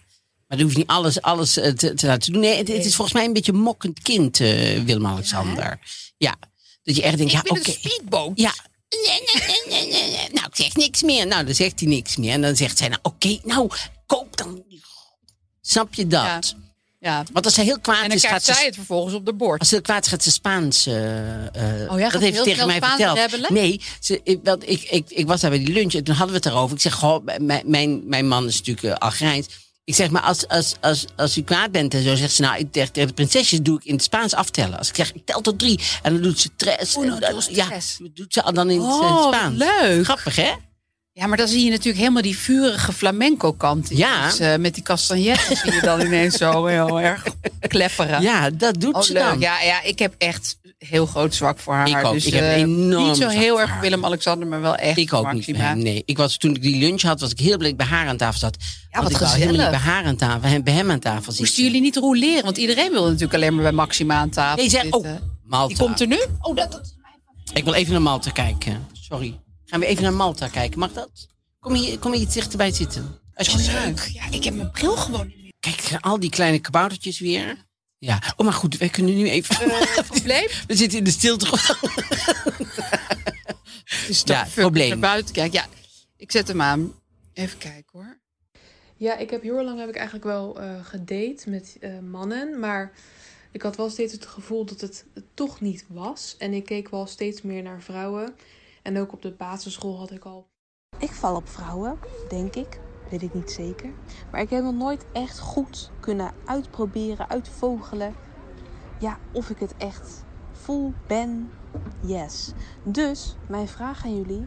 Speaker 2: Maar je hoeft niet alles, alles eh, te, te laten doen. Nee, het, het is volgens mij een beetje een mokkend kind, eh, Willem-Alexander. Ja. Dat je echt denkt,
Speaker 3: Ik
Speaker 2: ja,
Speaker 3: ben
Speaker 2: oké.
Speaker 3: een speedboot.
Speaker 2: Ja. Nee, nee, nee, nee, nee. Nou, ik zeg niks meer. Nou, dan zegt hij niks meer. En dan zegt zij, nou, oké, nou, koop dan. Snap je dat?
Speaker 3: Ja. Ja.
Speaker 2: Want als ze heel kwaad
Speaker 3: En dan
Speaker 2: is,
Speaker 3: krijgt
Speaker 2: gaat
Speaker 3: zij
Speaker 2: ze...
Speaker 3: het vervolgens op de bord.
Speaker 2: Als ze heel kwaad is, gaat ze Spaans. eh, eh,
Speaker 3: Oh, jij gaat
Speaker 2: dat heeft
Speaker 3: heel
Speaker 2: ze tegen
Speaker 3: snel
Speaker 2: mij
Speaker 3: Spaans
Speaker 2: verteld.
Speaker 3: rebbelen?
Speaker 2: Nee, ze, ik, want ik, ik, ik was daar bij die lunch en toen hadden we het erover. Ik zeg, goh, mijn, mijn, mijn man is natuurlijk eh, Algerijns. Ik zeg, maar als, als, als, als u kwaad bent en zo, zegt ze, nou, ik, tegen tegen de prinsesjes doe ik in het Spaans aftellen. Als ik zeg, ik tel tot drie. En dan doet ze tres.
Speaker 3: Uno,
Speaker 2: en dan-
Speaker 3: dos,
Speaker 2: ja,
Speaker 3: tres.
Speaker 2: doet ze dan in het eh,
Speaker 3: Oh, wat
Speaker 2: Spaans.
Speaker 3: leuk.
Speaker 2: Grappig, hè?
Speaker 3: Ja, maar dan zie je natuurlijk helemaal die vurige flamenco kant.
Speaker 2: Ja.
Speaker 3: Dus, eh, met die castagnetten zie je dan ineens zo heel erg klepperen.
Speaker 2: Ja, dat doet
Speaker 3: Oh,
Speaker 2: ze
Speaker 3: leuk.
Speaker 2: dan.
Speaker 3: Ja, ja, ik heb echt heel groot zwak voor haar.
Speaker 2: Ik ook.
Speaker 3: Dus,
Speaker 2: Ik heb een
Speaker 3: eh,
Speaker 2: enorm
Speaker 3: Niet zo
Speaker 2: zwak
Speaker 3: heel
Speaker 2: voor
Speaker 3: erg
Speaker 2: haar.
Speaker 3: Willem-Alexander, maar wel echt
Speaker 2: Ik ook niet.
Speaker 3: Maxima.
Speaker 2: bij hem, Nee, ik was toen ik die lunch had, was ik heel blij dat ik bij haar aan tafel zat. Ja,
Speaker 3: wat
Speaker 2: ik wou helemaal niet bij
Speaker 3: gezellig.
Speaker 2: haar aan tafel, hem- bij hem aan tafel zitten.
Speaker 3: Moesten jullie niet rouleren? Want iedereen wilde natuurlijk alleen maar bij Maxima aan tafel
Speaker 2: Nee, zeg, oh,
Speaker 3: zitten.
Speaker 2: Malta.
Speaker 3: Die komt er nu? Oh, dat, dat-
Speaker 2: Ik wil even naar Malta kijken. Sorry. Gaan we even naar Malta kijken? Mag dat? Kom hier, kom hier iets dichterbij zitten.
Speaker 3: Oh,
Speaker 2: Alsjeblieft.
Speaker 3: Ja, ik heb mijn bril gewoon niet meer.
Speaker 2: Kijk, al die kleine kaboutertjes weer. Ja. Oh, maar goed, wij kunnen nu even...
Speaker 3: Probleem?
Speaker 2: we zitten in de stilte.
Speaker 3: Dus
Speaker 2: Ja,
Speaker 3: dat-
Speaker 2: probleem.
Speaker 3: Naar buiten kijken. Ja, ik zet hem aan. Even kijken hoor.
Speaker 6: Ja, ik heb heel lang heb ik eigenlijk wel eh gedate met eh, mannen, maar ik had wel steeds het gevoel dat het het toch niet was. En ik keek wel steeds meer naar vrouwen. En ook op de basisschool had ik al
Speaker 7: Ik val op vrouwen, denk ik. Weet ik niet zeker. Maar ik heb nog nooit echt goed kunnen uitproberen, uitvogelen. Ja, of ik het echt voel, ben, yes. Dus mijn vraag aan jullie.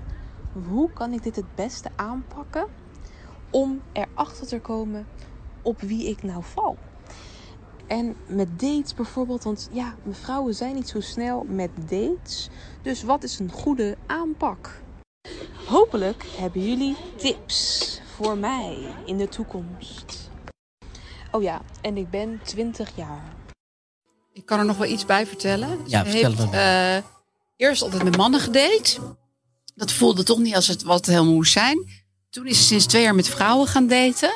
Speaker 7: Hoe kan ik dit het beste aanpakken om erachter te komen op wie ik nou val? En met dates bijvoorbeeld, want ja, vrouwen zijn niet zo snel met dates. Dus wat is een goede aanpak? Hopelijk hebben jullie tips voor mij in de toekomst. Oh ja, en ik ben 20 jaar.
Speaker 3: Ik kan er nog wel iets bij vertellen.
Speaker 2: Ja,
Speaker 3: Ze
Speaker 2: vertel
Speaker 3: heeft,
Speaker 2: het
Speaker 3: eh, eerst altijd met mannen gedate. Dat voelde toch niet als het wat het helemaal moest zijn. Toen is ze sinds twee jaar met vrouwen gaan daten.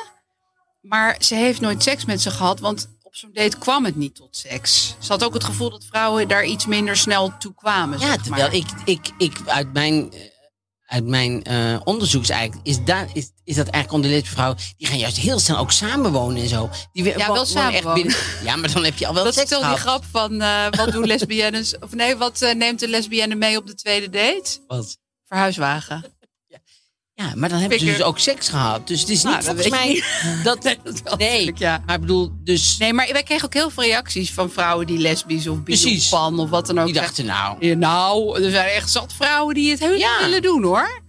Speaker 3: Maar ze heeft nooit seks met ze gehad, want op zo'n date kwam het niet tot seks. Ze had ook het gevoel dat vrouwen daar iets minder snel toe kwamen.
Speaker 2: Ja,
Speaker 3: zeg
Speaker 2: terwijl
Speaker 3: maar.
Speaker 2: ik, ik, ik uit mijn, eh, uit mijn eh onderzoek is eigenlijk, is, daar is, is dat eigenlijk onder deze vrouwen, die gaan juist heel snel ook samenwonen en zo. Die we-
Speaker 3: Ja,
Speaker 2: wo-
Speaker 3: wel
Speaker 2: wonen echt
Speaker 3: samenwonen.
Speaker 2: binnen- ja, maar dan heb je al wel
Speaker 3: Dat is
Speaker 2: seks
Speaker 3: toch die
Speaker 2: gehad.
Speaker 3: grap van eh, wat doen lesbiennes... Of nee, wat eh, neemt de lesbienne mee op de tweede date?
Speaker 2: Want-
Speaker 3: Verhuiswagen.
Speaker 2: Ja, maar dan hebben ze
Speaker 3: Fikker.
Speaker 2: dus ook seks gehad. Dus het is
Speaker 3: Nou,
Speaker 2: niet
Speaker 3: dat
Speaker 2: volgens mij
Speaker 3: weet
Speaker 2: dat... nee,
Speaker 3: natuurlijk, ja.
Speaker 2: maar ik bedoel, dus
Speaker 3: Nee, maar wij kregen ook heel veel reacties van vrouwen die lesbisch of bi
Speaker 2: Precies.
Speaker 3: of pan of wat dan ook.
Speaker 2: die dachten nou...
Speaker 3: Ja, nou, er zijn echt zat vrouwen die het heel
Speaker 2: Ja.
Speaker 3: willen doen hoor.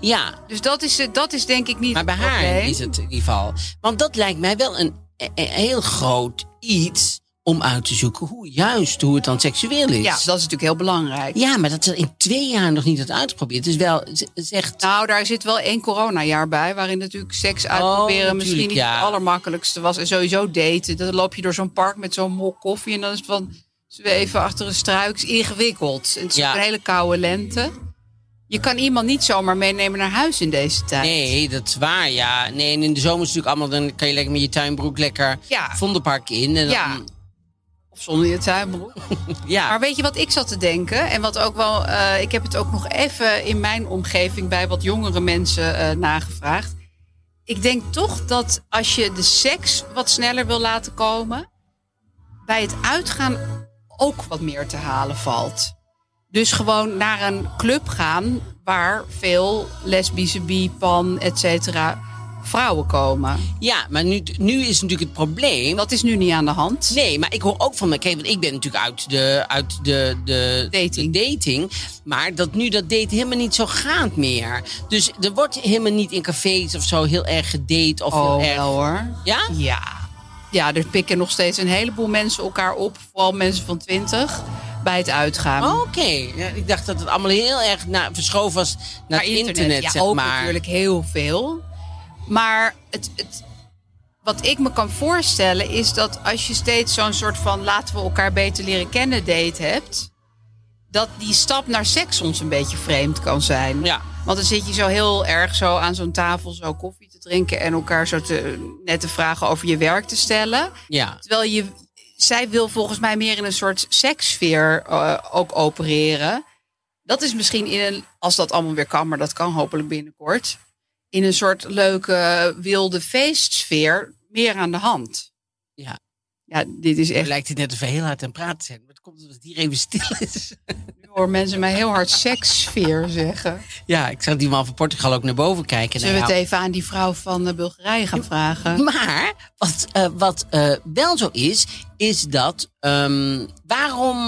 Speaker 2: Ja,
Speaker 3: Dus dat is, eh, dat is denk ik niet
Speaker 2: maar bij
Speaker 3: het
Speaker 2: haar
Speaker 3: probleem.
Speaker 2: is het in ieder geval... Want dat lijkt mij wel een, een- een heel groot iets om uit te zoeken hoe juist hoe het dan seksueel is.
Speaker 3: Ja, dus dat is natuurlijk heel belangrijk.
Speaker 2: Ja, maar dat ze in twee jaar nog niet had uitgeprobeerd. Dus wel z- zegt.
Speaker 3: Nou, daar zit wel één coronajaar bij, waarin Oh, natuurlijk seks uitproberen misschien
Speaker 2: natuurlijk,
Speaker 3: niet
Speaker 2: ja.
Speaker 3: het allermakkelijkste was. En sowieso daten. Dan loop je door zo'n park met zo'n mok koffie en dan is het van zweven achter een struik. Is ingewikkeld. En het is
Speaker 2: Ja.
Speaker 3: ook een hele koude lente. Je kan iemand niet zomaar meenemen naar huis in deze tijd.
Speaker 2: Nee, dat is waar, ja. Nee, en in de zomer is het natuurlijk allemaal. Dan kan je lekker met je tuinbroek lekker
Speaker 3: Ja.
Speaker 2: Vondelpark in. En dan,
Speaker 3: Ja. Of zonder je tuinbroek.
Speaker 2: ja.
Speaker 3: Maar weet je wat ik zat te denken? En wat ook wel, eh, ik heb het ook nog even in mijn omgeving bij wat jongere mensen eh, nagevraagd. ik denk toch dat als je de seks wat sneller wil laten komen, bij het uitgaan ook wat meer te halen valt. Dus gewoon naar een club gaan waar veel lesbische, bi, pan, et cetera, vrouwen komen.
Speaker 2: Ja, maar nu, nu is natuurlijk het probleem.
Speaker 3: Dat is nu niet aan de hand.
Speaker 2: Nee, maar ik hoor ook van mijn kijk, want ik ben natuurlijk uit de, uit de, de,
Speaker 3: Dating.
Speaker 2: de dating. Maar dat nu dat date helemaal niet zo gaat meer. Dus er wordt helemaal niet in cafés of zo heel erg gedate. Of
Speaker 3: Oh,
Speaker 2: heel erg.
Speaker 3: wel hoor.
Speaker 2: Ja?
Speaker 3: Ja. Ja, er pikken nog steeds een heleboel mensen elkaar op. Vooral mensen van 20 bij het uitgaan.
Speaker 2: Oh, Oké, Ja, ik dacht dat het allemaal heel erg na, verschoven was naar het internet,
Speaker 3: ja,
Speaker 2: zeg
Speaker 3: ook
Speaker 2: maar.
Speaker 3: natuurlijk heel veel. Maar het, het, wat ik me kan voorstellen is dat als je steeds zo'n soort van laten we elkaar beter leren kennen date hebt, dat die stap naar seks soms een beetje vreemd kan zijn.
Speaker 2: Ja.
Speaker 3: Want dan zit je zo heel erg zo aan zo'n tafel zo koffie te drinken en elkaar zo te, net te vragen over je werk te stellen.
Speaker 2: Ja.
Speaker 3: Terwijl je, zij wil volgens mij meer in een soort sekssfeer eh, ook opereren. Dat is misschien in een, als dat allemaal weer kan, maar dat kan hopelijk binnenkort. In een soort leuke wilde feestsfeer meer aan de hand.
Speaker 2: Ja.
Speaker 3: Ja, dit is
Speaker 2: Het
Speaker 3: echt.
Speaker 2: lijkt het net of we heel hard aan het praten zijn. Maar het komt omdat het hier even stil is.
Speaker 3: Nu hoor mensen mij heel hard sekssfeer zeggen.
Speaker 2: Ja, ik zag die man van Portugal ook naar boven kijken.
Speaker 3: Zullen we
Speaker 2: Nou
Speaker 3: het
Speaker 2: ja.
Speaker 3: even aan die vrouw van eh, Bulgarije gaan vragen?
Speaker 2: Maar wat, eh, wat eh, wel zo is, is dat ehm, waarom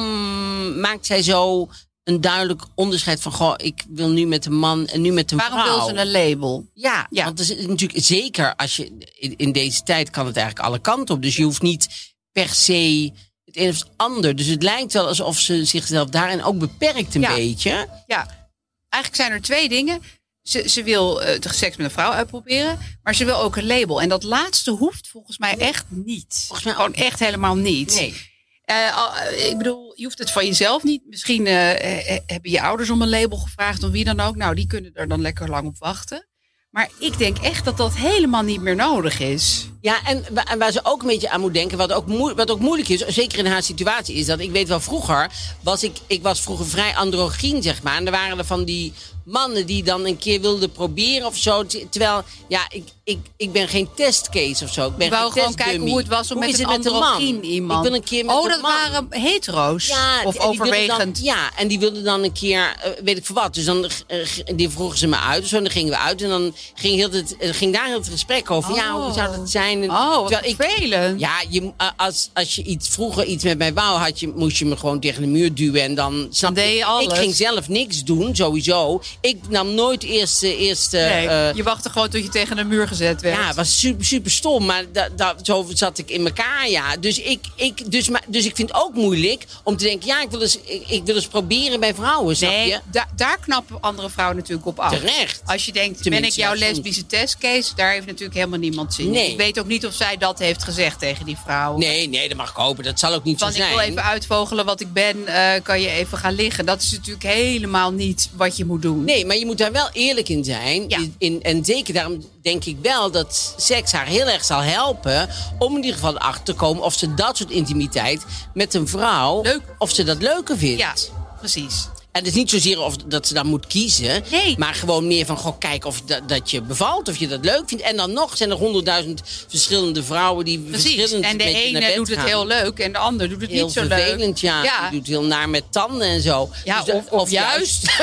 Speaker 2: maakt zij zo een duidelijk onderscheid van goh, ik wil nu met een man en nu met een
Speaker 3: Waarom
Speaker 2: vrouw?
Speaker 3: wil ze een label?
Speaker 2: Ja,
Speaker 3: Ja.
Speaker 2: want er is natuurlijk zeker als je in, in deze tijd kan het eigenlijk alle kanten op. Dus je hoeft niet per se het een of het ander. Dus het lijkt wel alsof ze zichzelf daarin ook beperkt een
Speaker 3: Ja.
Speaker 2: beetje.
Speaker 3: Ja, eigenlijk zijn er twee dingen. Ze, ze wil eh, de seks met een vrouw uitproberen, maar ze wil ook een label. En dat laatste hoeft volgens mij echt niet.
Speaker 2: Volgens mij ook
Speaker 3: Gewoon echt helemaal niet.
Speaker 2: Nee.
Speaker 3: Eh, al- eh, ik bedoel, je hoeft het van jezelf niet. Misschien eh, eh, hebben je ouders om een label gevraagd of wie dan ook. Nou, die kunnen er dan lekker lang op wachten. Maar ik denk echt dat dat helemaal niet meer nodig is.
Speaker 2: Ja, en wa- en waar ze ook een beetje aan moet denken, wat ook, moe- wat ook moeilijk is, zeker in haar situatie, is dat ik weet wel vroeger, was ik, ik was vroeger vrij androgyn, zeg maar. En er waren er van die mannen die dan een keer wilden proberen of zo. Te- Terwijl, ja, ik, ik, ik ben geen testcase of zo. Ik ben
Speaker 3: Ik wou
Speaker 2: geen
Speaker 3: gewoon
Speaker 2: testdummy.
Speaker 3: kijken hoe het was om
Speaker 2: Hoe
Speaker 3: met
Speaker 2: is
Speaker 3: een
Speaker 2: het met een man?
Speaker 3: androgyn iemand.
Speaker 2: Ik wil een keer met
Speaker 3: oh,
Speaker 2: een
Speaker 3: dat
Speaker 2: man.
Speaker 3: waren hetero's.
Speaker 2: Ja,
Speaker 3: of
Speaker 2: en die wilden
Speaker 3: overwegend.
Speaker 2: dan- ja, en die wilden dan een keer, eh, weet ik voor wat. Dus dan eh, g- die vroegen ze me uit. of Zo, dan gingen we uit. En dan ging, heel het, eh, ging daar heel het gesprek over. Ja, hoe zou dat zijn? En,
Speaker 3: Oh, wat
Speaker 2: terwijl ik-
Speaker 3: vervelend.
Speaker 2: ja, je, eh, als, als je iets, vroeger iets met mij wou, had je, moest je me gewoon tegen de muur duwen. En dan snap
Speaker 3: deed je
Speaker 2: Ik
Speaker 3: alles.
Speaker 2: ging zelf niks doen, sowieso. Ik nam nooit eerst. eh, eerst eh,
Speaker 3: Nee,
Speaker 2: eh,
Speaker 3: je wachtte gewoon tot je tegen een muur gezet werd.
Speaker 2: ja, het was super, super stom, maar da, da- zo zat ik in elkaar, ja. Dus ik, ik, dus, maar, dus ik vind het ook moeilijk om te denken... ja, ik wil eens, ik, ik wil eens proberen bij vrouwen, snap je?
Speaker 3: Nee, da- daar knappen andere vrouwen natuurlijk op af.
Speaker 2: Terecht.
Speaker 3: Als je denkt, ben ik
Speaker 2: Tenminste,
Speaker 3: jouw
Speaker 2: ja, soms.
Speaker 3: lesbische testcase? Daar heeft natuurlijk helemaal niemand zin in.
Speaker 2: Nee.
Speaker 3: Ik weet ook niet of zij dat heeft gezegd tegen die vrouw.
Speaker 2: Nee, nee, dat mag ik hopen. Dat zal ook niet
Speaker 3: Van
Speaker 2: zo
Speaker 3: ik
Speaker 2: zijn.
Speaker 3: wil even uitvogelen wat ik ben, eh, kan je even gaan liggen. Dat is natuurlijk helemaal niet wat je moet doen.
Speaker 2: Nee, maar je moet daar wel eerlijk in zijn.
Speaker 3: Ja.
Speaker 2: In, en zeker daarom denk ik wel dat seks haar heel erg zal helpen... om in ieder geval achter te komen of ze dat soort intimiteit met een vrouw...
Speaker 3: Leuk.
Speaker 2: of ze dat leuker vindt.
Speaker 3: Ja, precies.
Speaker 2: En het is niet zozeer of dat ze dan moet kiezen.
Speaker 3: Nee.
Speaker 2: Maar gewoon meer van, goh, kijk of da- dat je bevalt, of je dat leuk vindt. En dan nog zijn er honderdduizend verschillende vrouwen die
Speaker 3: Precies.
Speaker 2: verschillend
Speaker 3: En de
Speaker 2: met je naar
Speaker 3: ene
Speaker 2: bed
Speaker 3: doet het
Speaker 2: gaan.
Speaker 3: heel leuk en de ander doet het
Speaker 2: Heel
Speaker 3: niet zo leuk.
Speaker 2: vervelend, ja.
Speaker 3: ja.
Speaker 2: Die doet heel naar met tanden en zo. Dus
Speaker 3: Ja,
Speaker 2: dat-
Speaker 3: of- of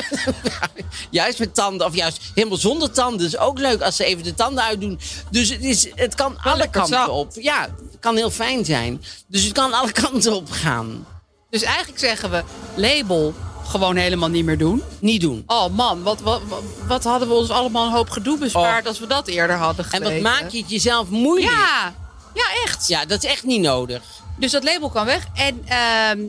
Speaker 2: juist met tanden, of juist helemaal zonder tanden. is ook leuk als ze even de tanden uitdoen. Dus het, is, het kan alle
Speaker 3: lekker
Speaker 2: kanten
Speaker 3: zacht.
Speaker 2: op. Ja, het kan heel fijn zijn. Dus het kan alle kanten op gaan.
Speaker 3: Dus eigenlijk zeggen we, label gewoon helemaal niet meer doen.
Speaker 2: Niet doen.
Speaker 3: Oh man, wat, wat, wat, wat hadden we ons allemaal een hoop gedoe bespaard als we dat eerder hadden
Speaker 2: Oh. En
Speaker 3: geweten.
Speaker 2: wat maak je het jezelf moeilijk?
Speaker 3: Ja, ja echt.
Speaker 2: Ja, dat is echt niet nodig.
Speaker 3: Dus dat label kan weg. En ehm,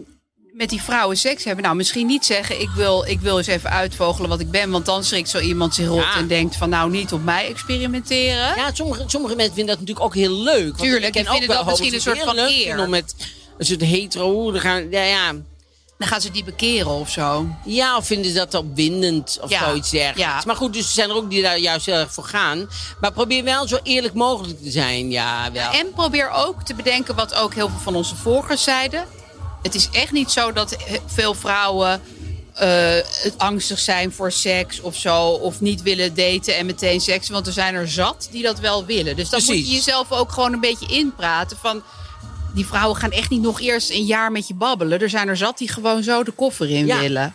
Speaker 3: met die vrouwen seks hebben. Nou, misschien niet zeggen, ik wil, ik wil eens even uitvogelen wat ik ben. Want dan schrikt zo iemand zich rot
Speaker 2: Ja.
Speaker 3: en denkt van nou, niet op mij experimenteren.
Speaker 2: Ja, sommige, sommige mensen vinden dat natuurlijk ook heel leuk. Want
Speaker 3: Tuurlijk,
Speaker 2: ik ken
Speaker 3: die vinden
Speaker 2: ook wel
Speaker 3: dat misschien
Speaker 2: homo's
Speaker 3: een
Speaker 2: die het
Speaker 3: soort
Speaker 2: heel
Speaker 3: van
Speaker 2: leuk
Speaker 3: eer.
Speaker 2: vinden Om met een soort hetero te gaan. Ja, ja.
Speaker 3: Dan gaan ze die bekeren of zo.
Speaker 2: ja, of vinden ze dat opwindend of
Speaker 3: Ja,
Speaker 2: zoiets dergelijks.
Speaker 3: ja.
Speaker 2: Maar goed, dus er zijn er ook die daar juist heel erg voor gaan. Maar probeer wel zo eerlijk mogelijk te zijn. Ja, wel.
Speaker 3: En probeer ook te bedenken wat ook heel veel van onze volgers zeiden. Het is echt niet zo dat he- veel vrouwen eh, het angstig zijn voor seks of zo. Of niet willen daten en meteen seks. Want er zijn er zat die dat wel willen. Dus dan moet
Speaker 2: Precies.
Speaker 3: je jezelf ook gewoon een beetje inpraten van... Die vrouwen gaan echt niet nog eerst een jaar met je babbelen. Er zijn er zat die gewoon zo de koffer in
Speaker 2: Ja.
Speaker 3: willen.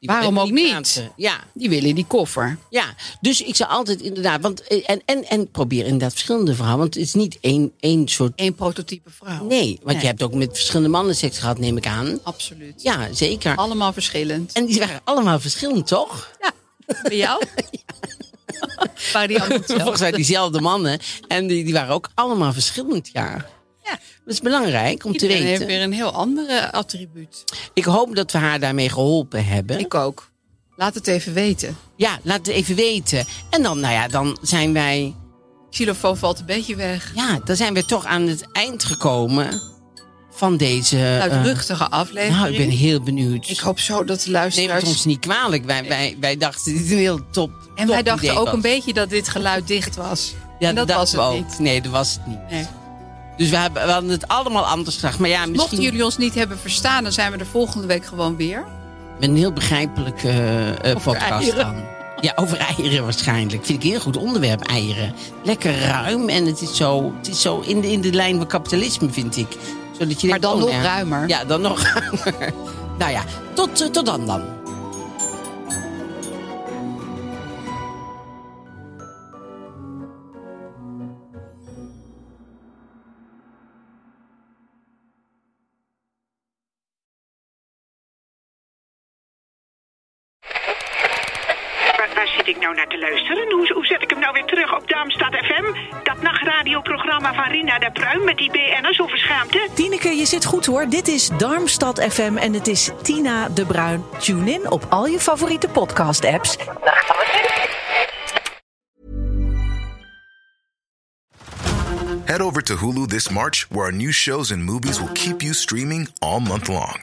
Speaker 2: Die-
Speaker 3: Waarom
Speaker 2: die
Speaker 3: ook niet?
Speaker 2: praten. Ja,
Speaker 3: Die willen die koffer.
Speaker 2: Ja, dus ik zou altijd inderdaad. Want, eh, en, en, en probeer inderdaad verschillende vrouwen. Want het is niet één, één soort.
Speaker 3: Eén prototype vrouw.
Speaker 2: Nee, want
Speaker 3: Nee.
Speaker 2: je hebt ook met verschillende mannen seks gehad, neem ik aan.
Speaker 3: Absoluut.
Speaker 2: Ja, zeker.
Speaker 3: Allemaal verschillend.
Speaker 2: En die waren allemaal verschillend, toch?
Speaker 3: Ja, bij jou? Waren die allemaal hetzelfde?
Speaker 2: Dus Volgens mij diezelfde mannen. En die, die waren ook allemaal verschillend, ja.
Speaker 3: Ja.
Speaker 2: Dat is belangrijk om te
Speaker 3: Iedereen heeft
Speaker 2: weten.
Speaker 3: weer een heel andere attribuut.
Speaker 2: Ik hoop dat we haar daarmee geholpen hebben.
Speaker 3: Ik ook. Laat het even weten.
Speaker 2: Ja, laat het even weten. En dan, nou ja, dan zijn wij.
Speaker 3: Xylofoon valt een beetje weg.
Speaker 2: Ja, dan zijn we toch aan het eind gekomen van deze. eh,
Speaker 3: Luidruchtige aflevering.
Speaker 2: nou, ik ben heel benieuwd.
Speaker 3: Ik hoop zo dat de
Speaker 2: Neem
Speaker 3: luisteraars...
Speaker 2: het ons niet kwalijk. Wij, wij, wij dachten, dit is een heel top.
Speaker 3: en wij
Speaker 2: top idee
Speaker 3: dachten ook
Speaker 2: was.
Speaker 3: een beetje dat dit geluid dicht was.
Speaker 2: Ja,
Speaker 3: en dat, was het
Speaker 2: we ook.
Speaker 3: niet.
Speaker 2: Nee, dat was het niet.
Speaker 3: Nee.
Speaker 2: Dus we, hebben, we hadden het allemaal anders gedacht. Maar ja, misschien
Speaker 3: Dus Mochten jullie ons niet hebben verstaan, dan zijn we er volgende week gewoon weer.
Speaker 2: met een heel begrijpelijke eh,
Speaker 3: Over
Speaker 2: podcast
Speaker 3: eieren.
Speaker 2: dan. Ja, over eieren waarschijnlijk. Vind ik een heel goed onderwerp, eieren. Lekker ruim en het is zo, het is zo in, de, in de lijn van kapitalisme, vind ik. Zodat je
Speaker 3: Maar
Speaker 2: denkt,
Speaker 3: dan
Speaker 2: oh,
Speaker 3: nog
Speaker 2: nou ja.
Speaker 3: ruimer.
Speaker 2: Ja, dan nog ruimer. Nou ja, tot, eh, tot dan dan.
Speaker 8: Waar, waar zit ik nou naar te luisteren? Hoe, hoe zet ik hem nou weer terug op Darmstad FM? Dat nachtradioprogramma van Rina de Pruim met die BN'ers over schaamte?
Speaker 9: Tineke, je zit goed hoor. Dit is Darmstad FM en het is Tina de Bruin. Tune in op al je favoriete podcast-apps.
Speaker 10: Head over to Hulu this March, where our new shows and movies will keep you streaming all month long.